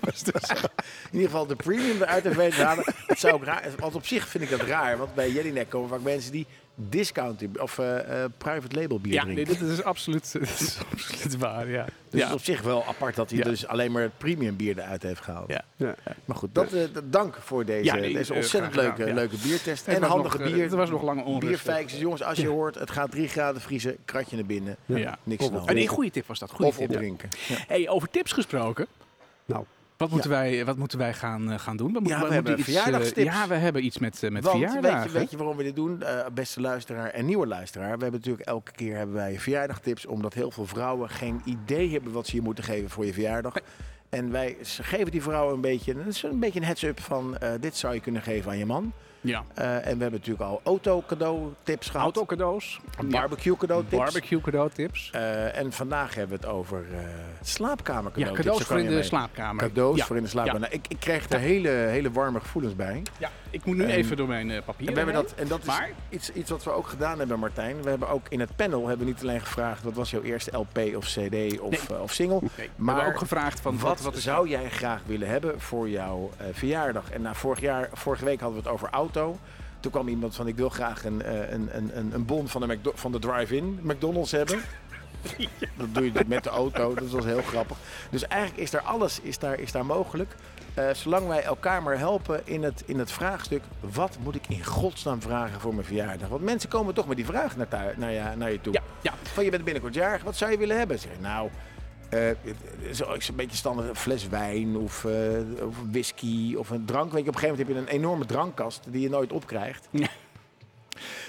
B: was dus
C: in ieder geval de premium eruit heeft weten te halen. Het zou ook raar, want op zich vind ik dat raar, want bij Jellinek komen vaak mensen die discount of eh, eh, private label bier
B: ja, nee,
C: drinken.
B: dit is absoluut, dit is absoluut waar, ja. ja.
C: dus het is op zich wel apart dat hij
B: Ja.
C: dus alleen maar het premium bier eruit heeft gehaald.
B: Ja.
D: Ja.
C: Maar goed, dat, eh, dat- dank voor deze,
B: Ja, nee,
C: deze
B: eh,
C: ontzettend
B: graag
C: leuke,
B: gedaan, ja.
C: leuke biertest.
B: Het
C: En
B: was
C: handige
B: nog, eh,
C: bier.
B: Het was nog lange onrust. eh.
C: Bierfijkjes, jongens, als je hoort, het gaat 3 graden vriezen, kratje naar binnen,
B: Ja.
C: niks aan de
B: Oh,
C: hand.
B: nee, goede tip was dat. Goede
C: Of
B: tip.
C: opdrinken. Ja.
B: Hey, over tips gesproken.
D: Nou,
B: Wat moeten, wij, wat moeten wij gaan, eh, gaan doen? We, moeten-
C: we
B: moeten
C: hebben
B: iets, eh,
C: verjaardagstips.
B: ja, we hebben iets met, eh, met
C: Want weet je,
B: verjaardagen.
C: weet je waarom we dit doen, eh, beste luisteraar en nieuwe luisteraar? We hebben natuurlijk elke keer hebben wij verjaardagtips, omdat heel veel vrouwen geen idee hebben wat ze je moeten geven voor je verjaardag. En wij s- geven die vrouwen een beetje, dat is een beetje een heads-up van eh, dit zou je kunnen geven aan je man.
B: Ja.
C: Eh, en we hebben natuurlijk al auto-cadeau-tips gehad,
B: Autocadeaus.
C: barbecue-cadeau-tips.
B: Barbecue cadeautips.
C: Eh, en vandaag hebben we het over eh
B: Ja,
C: slaapkamer-cadeau.
B: cadeaus voor in de slaapkamer.
C: Cadeaus
B: Ja.
C: voor in de slaapkamer.
B: Ja.
C: Nou, ik, ik kreeg er hele, hele warme gevoelens bij.
B: Ja, ik moet nu
C: En-
B: even door mijn eh, papier.
C: En, we hebben
B: heen.
C: dat, en dat is
B: Maar-
C: iets, iets wat we ook gedaan hebben, Martijn. We hebben ook in het panel hebben we niet alleen gevraagd... wat was jouw eerste LP of CD of, eh, of single?
B: Nee, we
C: maar
B: hebben ook gevraagd van
C: wat,
B: wat, wat is
C: zou jij graag willen hebben voor jouw eh, verjaardag? En na vorig jaar, vorige week hadden we het over auto. Toen kwam iemand van, ik wil graag een, eh, een, een, een, een bon van de, McDo- van de drive-in McDonald's hebben. Dat doe je dus met de auto, dat was heel grappig. Dus eigenlijk is daar alles is daar, is daar mogelijk. Eh, zolang wij elkaar maar helpen in het, in het vraagstuk... wat moet ik in godsnaam vragen voor mijn verjaardag? Want mensen komen toch met die vraag naar, thui- naar, je, naar je toe.
B: Ja, ja.
C: Van, je bent binnenkort jarig, wat zou je willen hebben? Zeg ik, nou, eh, het is ook een beetje standaard een fles wijn of, eh, of whisky of een drank. Weet je, op een gegeven moment heb je een enorme drankkast die je nooit opkrijgt.
B: Ja.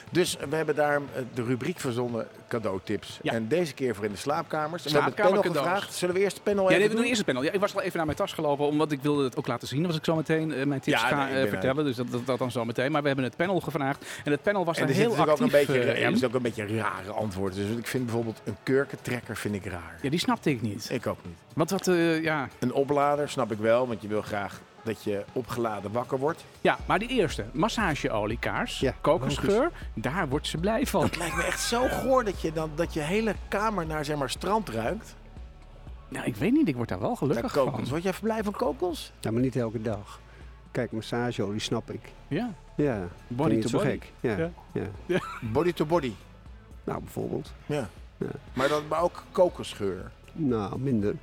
C: Dus we hebben daar eh, de rubriek verzonnen, cadeautips.
B: Ja.
C: En deze keer voor in de slaapkamers. En we hebben het panel
B: Slaapkamer cadeaus.
C: gevraagd. Zullen we eerst het panel
B: Ja, nee,
C: even
B: we doen eerst het panel. Ja, ik was al even naar mijn tas gelopen, omdat ik wilde het ook laten zien. Als ik zo meteen eh, mijn tips
C: Ja, nee,
B: ga
C: ik
B: eh,
C: ben uit.
B: vertellen, dus dat, dat, dat dan zo meteen. Maar we hebben het panel gevraagd en het panel was
C: En er
B: daar
C: zit
B: heel
C: natuurlijk ook
B: actief
C: een beetje,
B: eh,
C: er
B: in.
C: is ook een beetje rare antwoorden. Dus ik vind bijvoorbeeld een kurkentrekker vind ik raar.
B: Ja, die snapte ik niet.
C: Ik ook niet.
B: Want dat, eh, ja,
C: Een oplader snap ik wel, want je wil graag dat je opgeladen wakker wordt.
B: Ja, maar die eerste, massageoliekaars,
D: Ja,
B: kokosgeur, daar wordt ze blij van.
C: Het lijkt me echt zo goor dat je, dan, dat je hele kamer naar zeg maar, strand ruikt.
B: Nou, ik weet niet, ik word daar wel
C: Naar
B: gelukkig van.
C: kokos. Word jij blij van kokos?
D: Ja, maar niet elke dag. Kijk, massageolie snap ik.
B: Ja,
D: Ja,
B: Body
D: vind je
B: to
D: het
B: body.
D: zo gek. Ja,
B: Ja.
D: ja.
C: Body to body.
D: Nou, bijvoorbeeld.
C: Ja.
D: Ja.
C: Maar, dat, maar ook kokosgeur.
D: Nou, minder.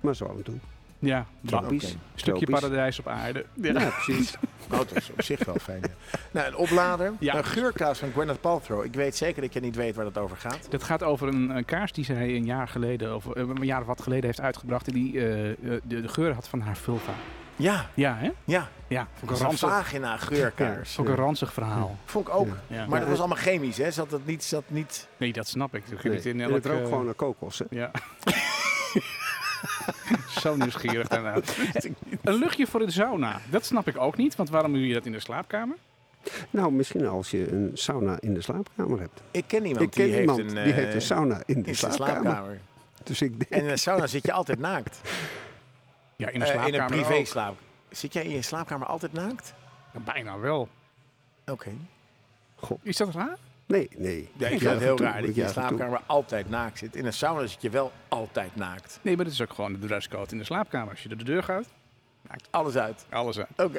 D: Maar zo af en toe.
B: ja. Een
D: Tropisch.
C: oké.
B: stukje
D: Tropisch.
B: paradijs op aarde. Ja.
D: Ja, precies.
C: Nou, dat is op zich wel fijn. ja. Nou, een oplader.
B: Ja.
C: Een geurkaas van Gwyneth Paltrow. Ik weet zeker dat je niet weet waar het over gaat.
B: Dat gaat over een, eh, kaars die zij een jaar geleden, of eh, een jaar of wat geleden heeft uitgebracht. En die eh, eh, de, de geur had van haar vulva.
C: Ja,
B: Ja, hè?
C: ja.
B: Ja, vond ik een
C: Een
B: ranzig,
C: vagina geurkaars.
B: vond ik een ranzig verhaal.
C: Vond ik ook.
D: Ja.
B: Ja.
C: Maar dat was allemaal chemisch, hè? Zat dat niet... Zat niet...
B: Nee, dat snap ik. Dat ging
D: Nee.
B: het in
D: En het
B: elk,
D: rookt
B: eh,
D: gewoon naar kokos, hè?
B: Ja. Zo nieuwsgierig daarna. Een luchtje voor de sauna. Dat snap ik ook niet, want waarom doe je dat in de slaapkamer?
D: Nou, misschien als je een sauna in de slaapkamer hebt.
C: Ik ken iemand
D: ik ken
C: die
D: iemand
C: heeft een...
D: die
C: eh,
D: heeft een sauna in de
C: in zijn
D: slaapkamer.
C: slaapkamer.
D: Dus ik denk,
C: En in een sauna zit je altijd naakt.
B: Ja, in de
C: Eh, in
B: slaapkamer
C: een privé
B: ook.
C: slaap. Zit jij in je slaapkamer altijd naakt?
B: Ja, Bijna wel.
C: Oké.
B: Is dat raar?
D: nee, nee.
C: Ja, ik
D: Ik
C: vind
D: juich
C: het
D: het
C: heel
D: toe,
C: raar dat
D: ik
C: je in de
D: juich het toe.
C: slaapkamer altijd naakt zit. In een sauna zit je wel altijd naakt.
B: Nee, maar dat is ook gewoon de dresscode in de slaapkamer. Als je door de deur gaat,
C: Alles uit.
B: alles aan.
C: Oké.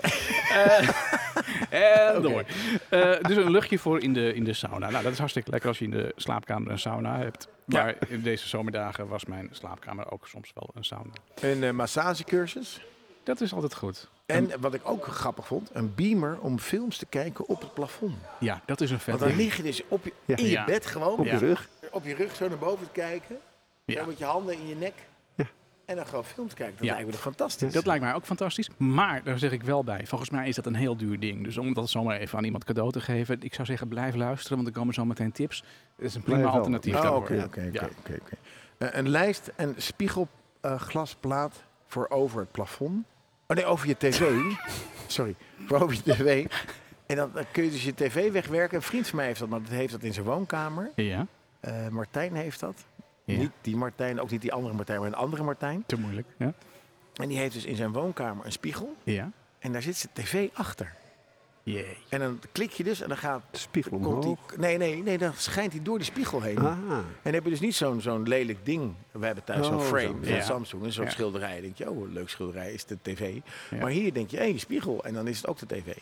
B: En door. Eh, dus een luchtje voor in de, in de sauna. Nou, dat is hartstikke lekker als je in de slaapkamer een sauna hebt. Maar in deze zomerdagen was mijn slaapkamer ook soms wel een sauna.
C: Een eh, massagecursus.
B: Dat is altijd goed.
C: En wat ik ook grappig vond, een beamer om films te kijken op het plafond.
B: Ja, dat is een vet
C: Want dan
B: ding.
C: lig je dus op je,
D: Ja.
C: in je
B: Ja.
C: bed gewoon,
D: Op
B: Ja.
D: je rug.
C: op je rug zo naar boven te kijken.
B: Ja.
C: Zo met je handen in je nek.
D: Ja.
C: En dan gewoon films kijken. Dat
B: Ja.
C: lijkt me toch fantastisch.
B: Dat lijkt mij ook fantastisch. Maar daar zeg ik wel bij. Volgens mij is dat een heel duur ding. Dus om dat zomaar even aan iemand cadeau te geven. Ik zou zeggen, blijf luisteren, want er komen zo meteen tips. Dat is een prima
D: Blijf wel.
B: alternatief.
C: Oh,
B: daarvoor.
C: oké, oké, oké, oké, oké. Eh, Een lijst en spiegelglasplaat eh, voor over het plafond. Oh nee, over je tv. Sorry, voor over je tv. En dan, dan kun je dus je tv wegwerken. Een vriend van mij heeft dat, maar dat heeft dat in zijn woonkamer.
B: Ja,
C: Eh, Martijn heeft dat.
B: Ja.
C: Niet die Martijn, ook niet die andere Martijn, maar een andere Martijn.
B: te moeilijk. Ja.
C: En die heeft dus in zijn woonkamer een spiegel.
B: ja.
C: En daar zit zijn tv achter.
B: Jee.
C: En dan klik je dus en dan gaat...
D: De spiegel
C: Komt die,
D: omhoog.
C: nee, nee, nee, dan schijnt hij door die spiegel heen.
D: Ah,
C: En heb je dus niet zo'n zo'n lelijk ding. We hebben thuis zo'n
D: Oh,
C: frame
D: zo.
C: van
B: Ja.
C: Samsung. Een soort
B: Ja.
C: schilderij. Dan denk je, oh, leuk schilderij is de tv.
B: Ja.
C: Maar hier denk je, hé, hey, spiegel. En dan is het ook de tv.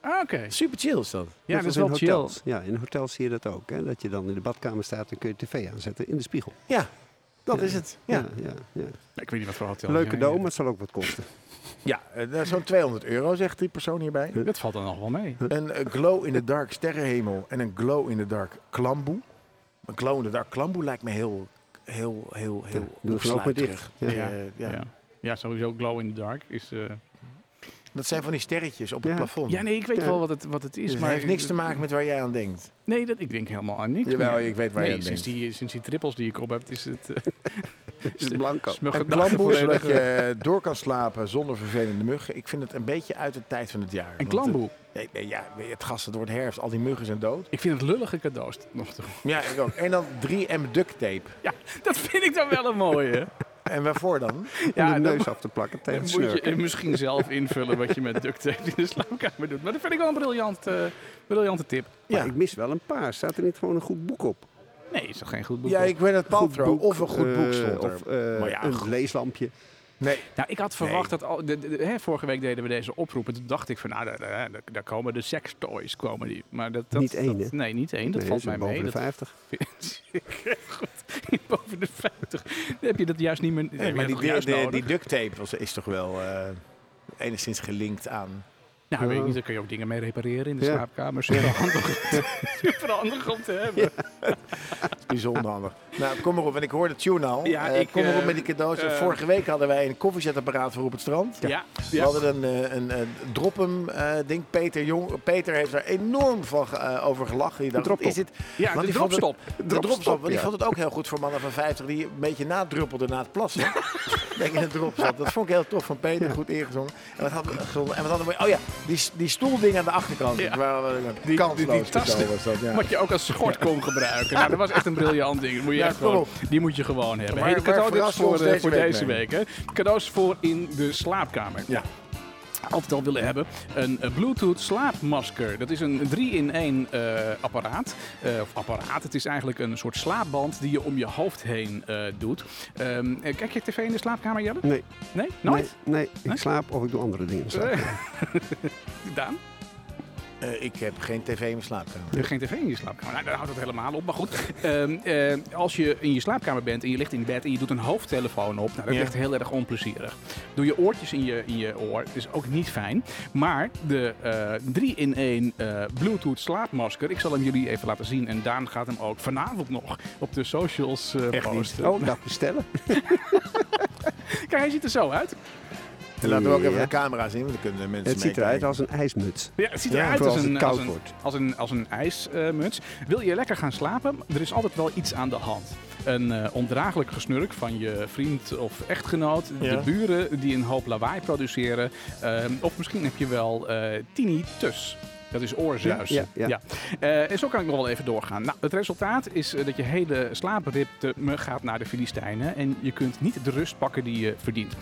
B: Ah, Oké.
C: Super chill is dat.
B: Ja, dat is
D: was
B: wel
D: in
B: chill.
D: hotels. Ja, in hotels zie je dat ook. Hè? Dat je dan in de badkamer staat en kun je tv aanzetten in de spiegel.
C: Ja, dat is het. Ja,
D: ja, ja, ja.
B: Ik weet niet wat voor hotel.
D: Leuk
B: jij-
D: cadeau, maar het zal ook wat kosten.
C: ja. eh, zo'n 200 euro zegt die persoon hierbij.
B: Dat valt dan nog wel mee.
C: Een eh, glow-in-the-dark sterrenhemel en een glow-in-the-dark klamboe. Een glow-in-the-dark klamboe lijkt me heel, heel, heel, heel
D: doe het gewoon ook maar
C: opsluiterig.
D: dicht.
C: Eh, ja.
B: Ja. Ja. sowieso glow in the dark is... eh,
C: Dat zijn van die sterretjes op het
D: Ja.
C: plafond.
B: Ja, nee, ik weet
D: Ja.
B: wel wat het, wat het is.
C: Dus het
B: maar
C: heeft niks te maken met waar jij aan denkt.
B: Nee, dat, ik denk helemaal aan niks
C: Jawel,
B: meer.
C: ik weet waar
B: nee,
C: je aan
B: sinds
C: denkt.
B: die, sinds die trippels die ik op heb, is het... eh,
D: Is het blanco?
B: is mijn
C: Een
B: gedachte
C: klamboe, zodat
B: volledig, eh,
C: je door kan slapen zonder vervelende muggen. Ik vind het een beetje uit de tijd van het jaar.
B: Een
C: Want
B: klamboe.
C: het- nee, nee, ja, het gas, het wordt herfst. Al die muggen zijn dood.
B: Ik vind het lullige cadeaus nog toe.
C: Ja, ik ook. En dan 3M duct tape.
B: Ja, dat vind ik dan wel een mooie.
C: En waarvoor dan?
D: Om
B: Ja,
D: de
B: dan
D: neus af te plakken tegen
B: moet
D: het
B: je
D: snurken.
B: eh, misschien zelf invullen wat je met duct tape in de slaapkamer doet. Maar dat vind ik wel een briljant, eh, briljante tip.
D: Ja.
C: Ja.
D: ik mis wel een paar. Staat er niet gewoon een goed boek op?
B: Nee, is toch geen goed boek?
C: Ja,
B: hoor.
C: ik ben het Paltrow. Of een goed boek
D: eh,
C: stond er.
D: Of eh,
C: Maar ja,
D: een
C: goed.
D: leeslampje.
C: Nee,
B: Nou, ik had verwacht dat al. De, de- de- hè, vorige week deden we deze oproepen. Toen dacht ik van, nou, daar, daar, daar- daar komen de sextoys. Komen die. Maar dat, dat,
D: Niet één,
B: dat-
D: hè?
B: Nee, niet één. Dat
D: Nee,
B: valt
D: zo
B: mij
D: boven
B: mee.
D: de
B: Dat
D: 50.
B: vind ik goed. Boven de 50. Dan heb je dat juist niet meer. dan heb
C: nee
B: je dat
C: maar die,
B: toch
C: die,
B: juist
C: die,
B: nodig?
C: die duct tape was, is toch wel eh, enigszins gelinkt aan.
B: Nou, weet ik
D: Ja.
B: niet, daar kun je ook dingen mee repareren in de
D: Ja.
B: slaapkamer. Super handig, super handig om te hebben.
C: Bijzonder handig. Nou, kom maar op. En ik hoorde Tune al.
B: Ja,
C: Eh,
B: ik,
C: kom maar op
B: eh,
C: met die cadeaus.
B: eh,
C: Vorige week hadden wij een koffiezetapparaat voor op het strand.
B: Ja,
C: We
B: ja.
C: hadden een, eh, een, eh, droppem eh, ding. Peter, Jong, Peter heeft daar enorm van, ge- eh, over gelachen. Die dacht, wat
D: Droppel.
C: is dit?
B: Ja,
C: Want
B: de
C: die vond het-
B: dropstop.
C: De dropstop. want ik
D: ja.
C: vond het ook heel goed voor mannen van 50 die een beetje nadruppelden na het plassen. Denk in een dropstop. Dat vond ik heel tof van Peter. Goed ingezongen. En wat hadden we gezongen? En wat hadden we? Oh ja, die, die stoelding aan de achterkant.
B: Ja.
C: Waar we-
B: die
C: kansloos
B: tas-
C: cadeau was dat, ja.
B: Wat je ook als schort kon gebruiken. Nou, dat was echt een briljant ding. Dat Moet je
C: Ja,
B: echt
C: kom
B: gewoon,
C: op.
B: die moet je gewoon hebben.
C: Waar-
B: Hey, de
C: waar
B: cadeautip's
C: verrassen we
B: voor,
C: ons
B: eh,
C: deze
B: voor
C: week
B: deze
C: mee?
B: week. Hè. Cadeaus voor in de slaapkamer.
C: Ja.
B: altijd al willen hebben. Een eh, Bluetooth slaapmasker. Dat is een 3-in-1 eh, apparaat. Eh, of apparaat, het is eigenlijk een soort slaapband die je om je hoofd heen eh, doet. Ehm, eh, kijk je tv in de slaapkamer, Jelle?
D: Nee,
B: Nee? Nooit?
D: Nee, nee, ik
B: Nee?
D: slaap of ik doe andere dingen. Dus, in slaap.
B: Eh, Daan?
C: Eh, ik heb geen tv in mijn slaapkamer.
B: Er is geen tv in je slaapkamer. Nou, daar houdt het helemaal op. Maar goed, ehm, eh, als je in je slaapkamer bent en je ligt in bed en je doet een hoofdtelefoon op, nou, dat
C: Ja.
B: ligt heel erg onplezierig. Doe je oortjes in je, in je oor, is ook niet fijn. Maar de 3-in-1 Bluetooth slaapmasker, ik zal hem jullie even laten zien. En Daan gaat hem ook vanavond nog op de socials eh,
C: Echt niet.
B: posten.
D: Oh, dat bestellen.
B: Kijk, hij ziet er zo uit.
C: En laten we ook even
D: Ja.
C: de camera zien, want dan kunnen de mensen
D: Het ziet eruit
C: meekijken.
D: als een ijsmuts.
B: Ja, het ziet
C: Ja,
B: eruit
D: vooral
B: als
D: als
B: een,
D: het
B: als
D: koud
B: een,
D: wordt.
B: als een, als een ijsmuts. Wil je lekker gaan slapen? Er is altijd wel iets aan de hand. Een eh, ondraaglijk gesnurk van je vriend of echtgenoot.
C: Ja.
B: De buren die een hoop lawaai produceren. ehm, of misschien heb je wel eh tinnitus. Dat is oorzuis.
D: Ja, ja, ja.
B: Eh, en zo kan ik nog wel even doorgaan. Nou, het resultaat is eh, dat je hele slaapritme gaat naar de Filistijnen. En je kunt niet de rust pakken die je verdient.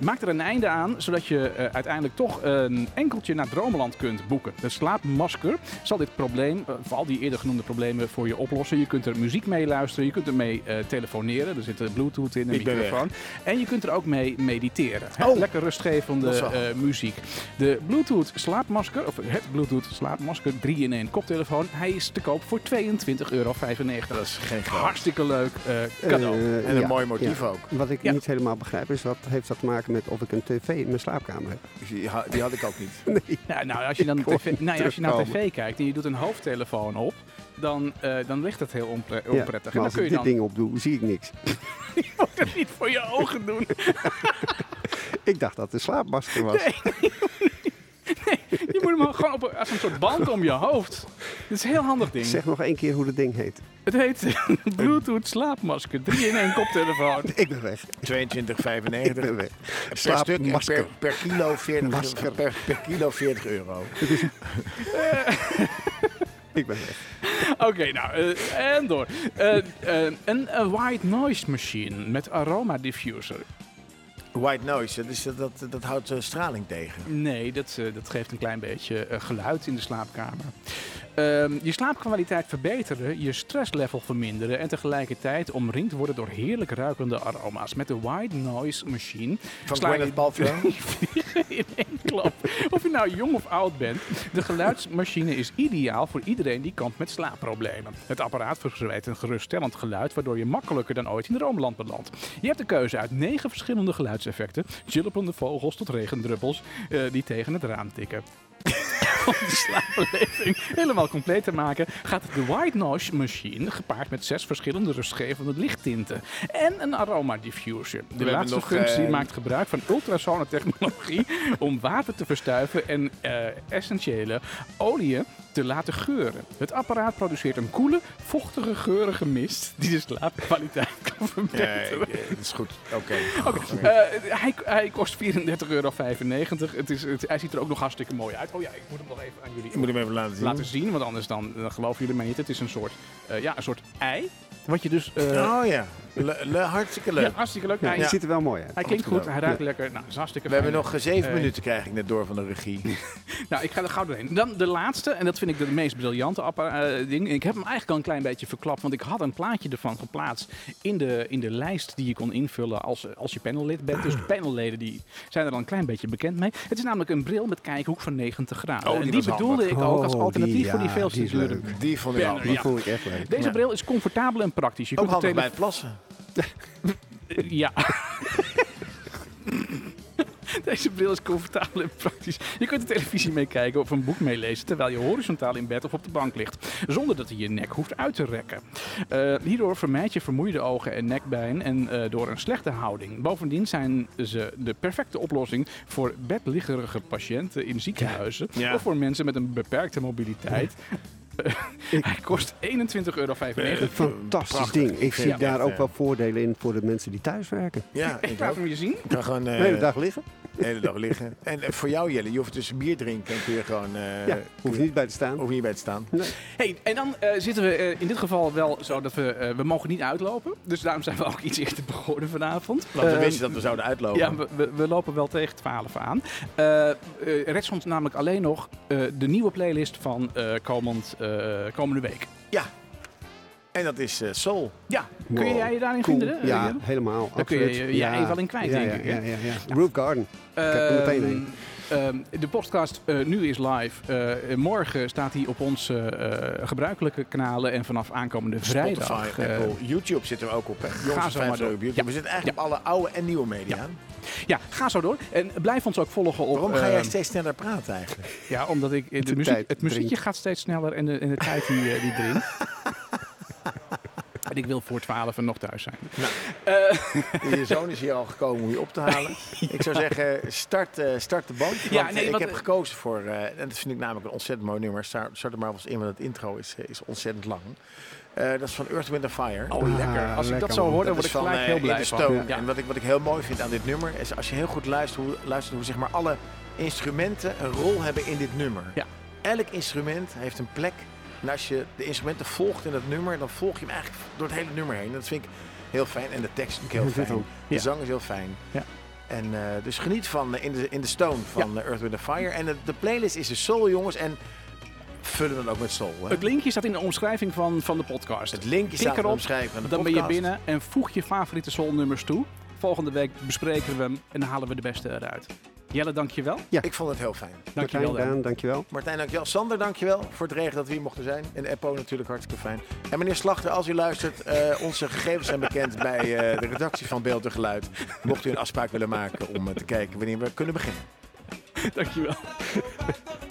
B: Maak er een einde aan, zodat je eh, uiteindelijk toch een enkeltje naar Droomland kunt boeken. De slaapmasker zal dit probleem, eh, voor al die eerder genoemde problemen, voor je oplossen. Je kunt er muziek mee luisteren, je kunt ermee eh telefoneren. Er zit eh, bluetooth in, een
C: Ik ben
B: microfoon. En je kunt er ook mee mediteren. Hè,
C: Oh.
B: Lekker rustgevende
C: Dat is wel
B: eh, muziek. De Bluetooth slaapmasker, of het Bluetooth slaapmasker 3-in-1 koptelefoon, hij is te koop voor 22,95 euro.
C: Dat is geen geld.
B: Hartstikke leuk eh, cadeau.
D: Eh,
C: En een
D: ja,
C: mooi motief ook.
D: ja. Wat ik
B: Ja.
D: niet helemaal begrijp is, wat heeft dat te maken met of ik een tv in mijn slaapkamer heb?
C: Dus Die ha- die had ik ook niet.
B: Nou, nou, als je dan
D: hoor
B: tv, nou, ja, als je naar
D: terugkomen.
B: tv kijkt en je doet een hoofdtelefoon op, dan, eh, dan ligt het heel onpre-
D: Ja,
B: onprettig. en
D: maar
B: dan
D: als ik
B: kun
D: dit
B: je dan
D: ding opdoe, zie ik niks.
B: het niet voor je ogen doen.
D: Ik dacht dat het een slaapmasker was.
B: Je moet hem gewoon op, een- als een soort band om je hoofd. Dat is een heel handig ding.
D: Zeg nog één keer hoe dat ding heet.
B: Het heet Bluetooth slaapmasker 3-in-1 koptelefoon.
D: Ik ben weg.
C: 22,95
D: Ik ben weg.
C: per
D: Slaap-
C: stuk en
D: masker.
C: per, per, kilo 40,
D: Masker.
C: per, per kilo 40 euro.
D: Ik ben weg.
B: Oké, nou, eh, en door. Eh, eh, een eh, white noise machine met aroma diffuser.
C: White noise, dat, is, dat, dat houdt eh, straling tegen.
B: Nee, dat, eh, dat geeft een klein beetje eh, geluid in de slaapkamer. Ehm, je slaapkwaliteit verbeteren, je stresslevel verminderen en tegelijkertijd omringd worden door heerlijk ruikende aroma's. Met de white noise machine
C: Van
B: sla je-
C: Gwyneth Paltrow.
B: in één klap. Of je nou jong of oud bent, de geluidsmachine is ideaal voor iedereen die kampt met slaapproblemen. Het apparaat verspreidt een geruststellend geluid, waardoor je makkelijker dan ooit in droomland belandt. Je hebt de keuze uit negen verschillende geluidseffecten, chillende vogels tot regendruppels eh, die tegen het raam tikken. Om de slaapbeleving helemaal compleet te maken, gaat de White Noise Machine gepaard met zes verschillende rustgevende lichttinten en een aroma diffuser. De
C: hebben
B: laatste
C: nog,
B: functie
C: eh,
B: maakt maakt gebruik van ultrasonentechnologie om water te verstuiven en eh, essentiële oliën te laten geuren. Het apparaat produceert een koele, vochtige, geurige mist die de slaapkwaliteit kan
C: Nee,
B: verbeteren.
C: eh, dat is goed. Oké.
B: Eh, hij, hij kost 34,95 euro. Het is, het, hij ziet er ook nog hartstikke mooi uit. Oh ja, ik moet hem nog even aan jullie
C: Ik moet hem even laten zien.
B: laten zien, want anders dan, dan geloven jullie mij niet. Het is een soort, eh, ja, een soort ei. Wat je dus... eh,
C: Oh ja, le, le- hartstikke
B: ja,
C: leuk.
B: hartstikke leuk.
D: Ja,
B: ei.
D: het ziet er wel mooi uit.
B: Hij klinkt goed,
C: Hartstikke
B: hij ruikt lekker. Nou, het is hartstikke
C: We hebben
B: fijn.
C: nog eh, zeven
B: Eh,
C: minuten, krijg ik net door van de regie.
B: Nou, ik ga er gauw doorheen. Dan de laatste, en dat vind ik de meest briljante appa- eh, ding. Ik heb hem eigenlijk al een klein beetje verklapt, want ik had een plaatje ervan geplaatst in de, in de lijst die je kon invullen als, eh, als je panellid bent. Dus de panelleden die zijn er al een klein beetje bekend mee. Het is namelijk een bril met kijkhoek van 90 graden.
C: Oh, die
B: en die
C: was handig.
B: bedoelde ik ook als
D: Oh,
B: alternatief
D: die,
B: voor die
D: ja,
B: veel
D: die
B: te
D: is
B: dure.
D: leuk.
C: Die vond ik
B: Banner,
C: al.
D: Die
B: ja.
D: vond ik echt leuk.
B: Deze
C: Ja.
B: bril is comfortabel en praktisch. Je
C: Ook
B: kunt de
C: handig
B: tele-
C: bij het plassen.
B: Ja. Deze bril is comfortabel en praktisch. Je kunt de televisie meekijken of een boek meelezen terwijl je horizontaal in bed of op de bank ligt. Zonder dat je je nek hoeft uit te rekken. Eh, hierdoor vermijd je vermoeide ogen en nekpijn en eh, door een slechte houding. Bovendien zijn ze de perfecte oplossing voor bedliggerige patiënten in ziekenhuizen.
C: Ja.
B: Of voor mensen met een beperkte mobiliteit. Eh, Hij kost 21,95 euro.
D: Fantastisch
C: Prachtig.
D: ding. Ik zie
C: Ja,
D: daar
C: echt,
D: ook
C: eh,
D: wel voordelen in voor de mensen die thuis werken.
C: Ja, ik
B: Ik laat
C: ook.
B: hem je zien.
C: Ik kan gewoon... eh,
D: De hele dag liggen.
C: De hele dag liggen. En eh, voor jou, Jelle, je hoeft dus bier drinken en kun je gewoon... eh,
D: ja, hoef je niet bij te
B: Oh.
D: staan.
C: hoef je niet bij te staan.
D: Nee.
B: Hey, en dan eh, zitten we eh, in dit geval wel zo dat we... eh, we mogen niet uitlopen. Dus daarom zijn we ook iets eerder begonnen vanavond.
C: Want
D: Eh.
C: we
B: Ehm,
C: wisten dat we zouden uitlopen.
B: Ja, we, we, we lopen wel tegen 12 aan. Eh eh rest ons namelijk alleen nog eh, de nieuwe playlist van eh, komend, eh, komende week.
C: Ja. En dat is eh, Soul.
B: Ja, kun
D: Wow,
B: jij je daarin
D: cool.
B: vinden? eh,
D: Ja,
B: Jelle?
D: helemaal.
B: Daar kun je
D: absoluut.
B: je- je ei wel in kwijt,
D: ja,
B: denk
D: ja,
B: ik, hè?
D: Ja, ja, ja. Roof Garden. heb er meteen een.
B: Ehm, ehm, de podcast eh, nu is live. Eh, morgen staat hij op onze eh, gebruikelijke kanalen. En vanaf aankomende vrijdag.
C: Spotify,
B: eh,
C: Apple, YouTube zitten we ook op. Hè?
B: zo
C: Jongens,
B: maar
C: van Vijf
B: door.
C: Euro op YouTube.
B: Ja.
C: We zitten eigenlijk op alle oude en nieuwe media.
B: ja, ga zo door. En blijf ons ook volgen op.
C: Waarom ga jij
B: ehm,
C: steeds sneller praten eigenlijk?
B: Ja, omdat ik, eh, de
D: De
B: muziek,
D: tijd
B: het muziekje
D: dringt.
B: gaat steeds sneller en de, en de tijd die, eh, die drinkt. En ik wil voor 12 nog thuis zijn.
C: Je zoon is hier al gekomen om je op te halen. Ik zou zeggen, start, eh, start de band.
B: Ja,
C: want
B: nee,
C: ik
B: want-
C: heb gekozen voor, eh, en dat vind ik namelijk een ontzettend mooi nummer. Start, start er maar eens in, want het intro is, eh, is ontzettend lang. Eh, dat is van Earth, Wind and Fire.
B: Oh,
D: Ah,
B: lekker. Als ik
D: lekker,
B: dat zo
D: man.
B: hoor, dan
C: Dat
B: word
C: is
B: ik gelijk
C: eh,
B: heel
C: In
B: blij
C: the
B: van.
C: Stone.
B: Ja.
C: En wat ik, wat ik heel mooi vind aan dit nummer is als je heel goed luistert hoe, luistert hoe zeg maar alle instrumenten een rol hebben in dit nummer.
B: Ja.
C: Elk instrument heeft een plek. En als je de instrumenten volgt in dat nummer, dan volg je hem eigenlijk door het hele nummer heen. En dat vind ik heel fijn. En de tekst vind ik heel
D: Dat
C: fijn.
D: ook.
C: De
B: Ja.
C: zang is heel fijn.
B: Ja.
C: En eh, dus geniet van eh, in, de, in de Stone van eh, Earth, Wind and Fire. En de, de playlist is de soul, jongens. En vullen we dat ook met soul. Hè?
B: Het linkje staat in de omschrijving van, van de podcast.
C: Het linkje
B: Klik
C: staat in de
B: erop,
C: omschrijving van de
B: dan ben je
C: podcast.
B: binnen en voeg je favoriete soulnummers toe. Volgende week bespreken we hem en dan halen we de beste eruit. Jelle, dankjewel.
C: Ik vond het heel fijn.
B: Dankjewel,
D: Martijn,
B: Dan.
D: Daan, dankjewel.
C: Martijn, dankjewel. Sander, dankjewel voor het regen dat we hier mochten zijn. En Eppo natuurlijk hartstikke fijn. En meneer Slachter, als u luistert, eh, onze gegevens zijn bekend bij eh, de redactie van Beeld en Geluid. Mocht u een afspraak willen maken om eh, te kijken wanneer we kunnen beginnen.
B: Dankjewel.
E: Bye, bye,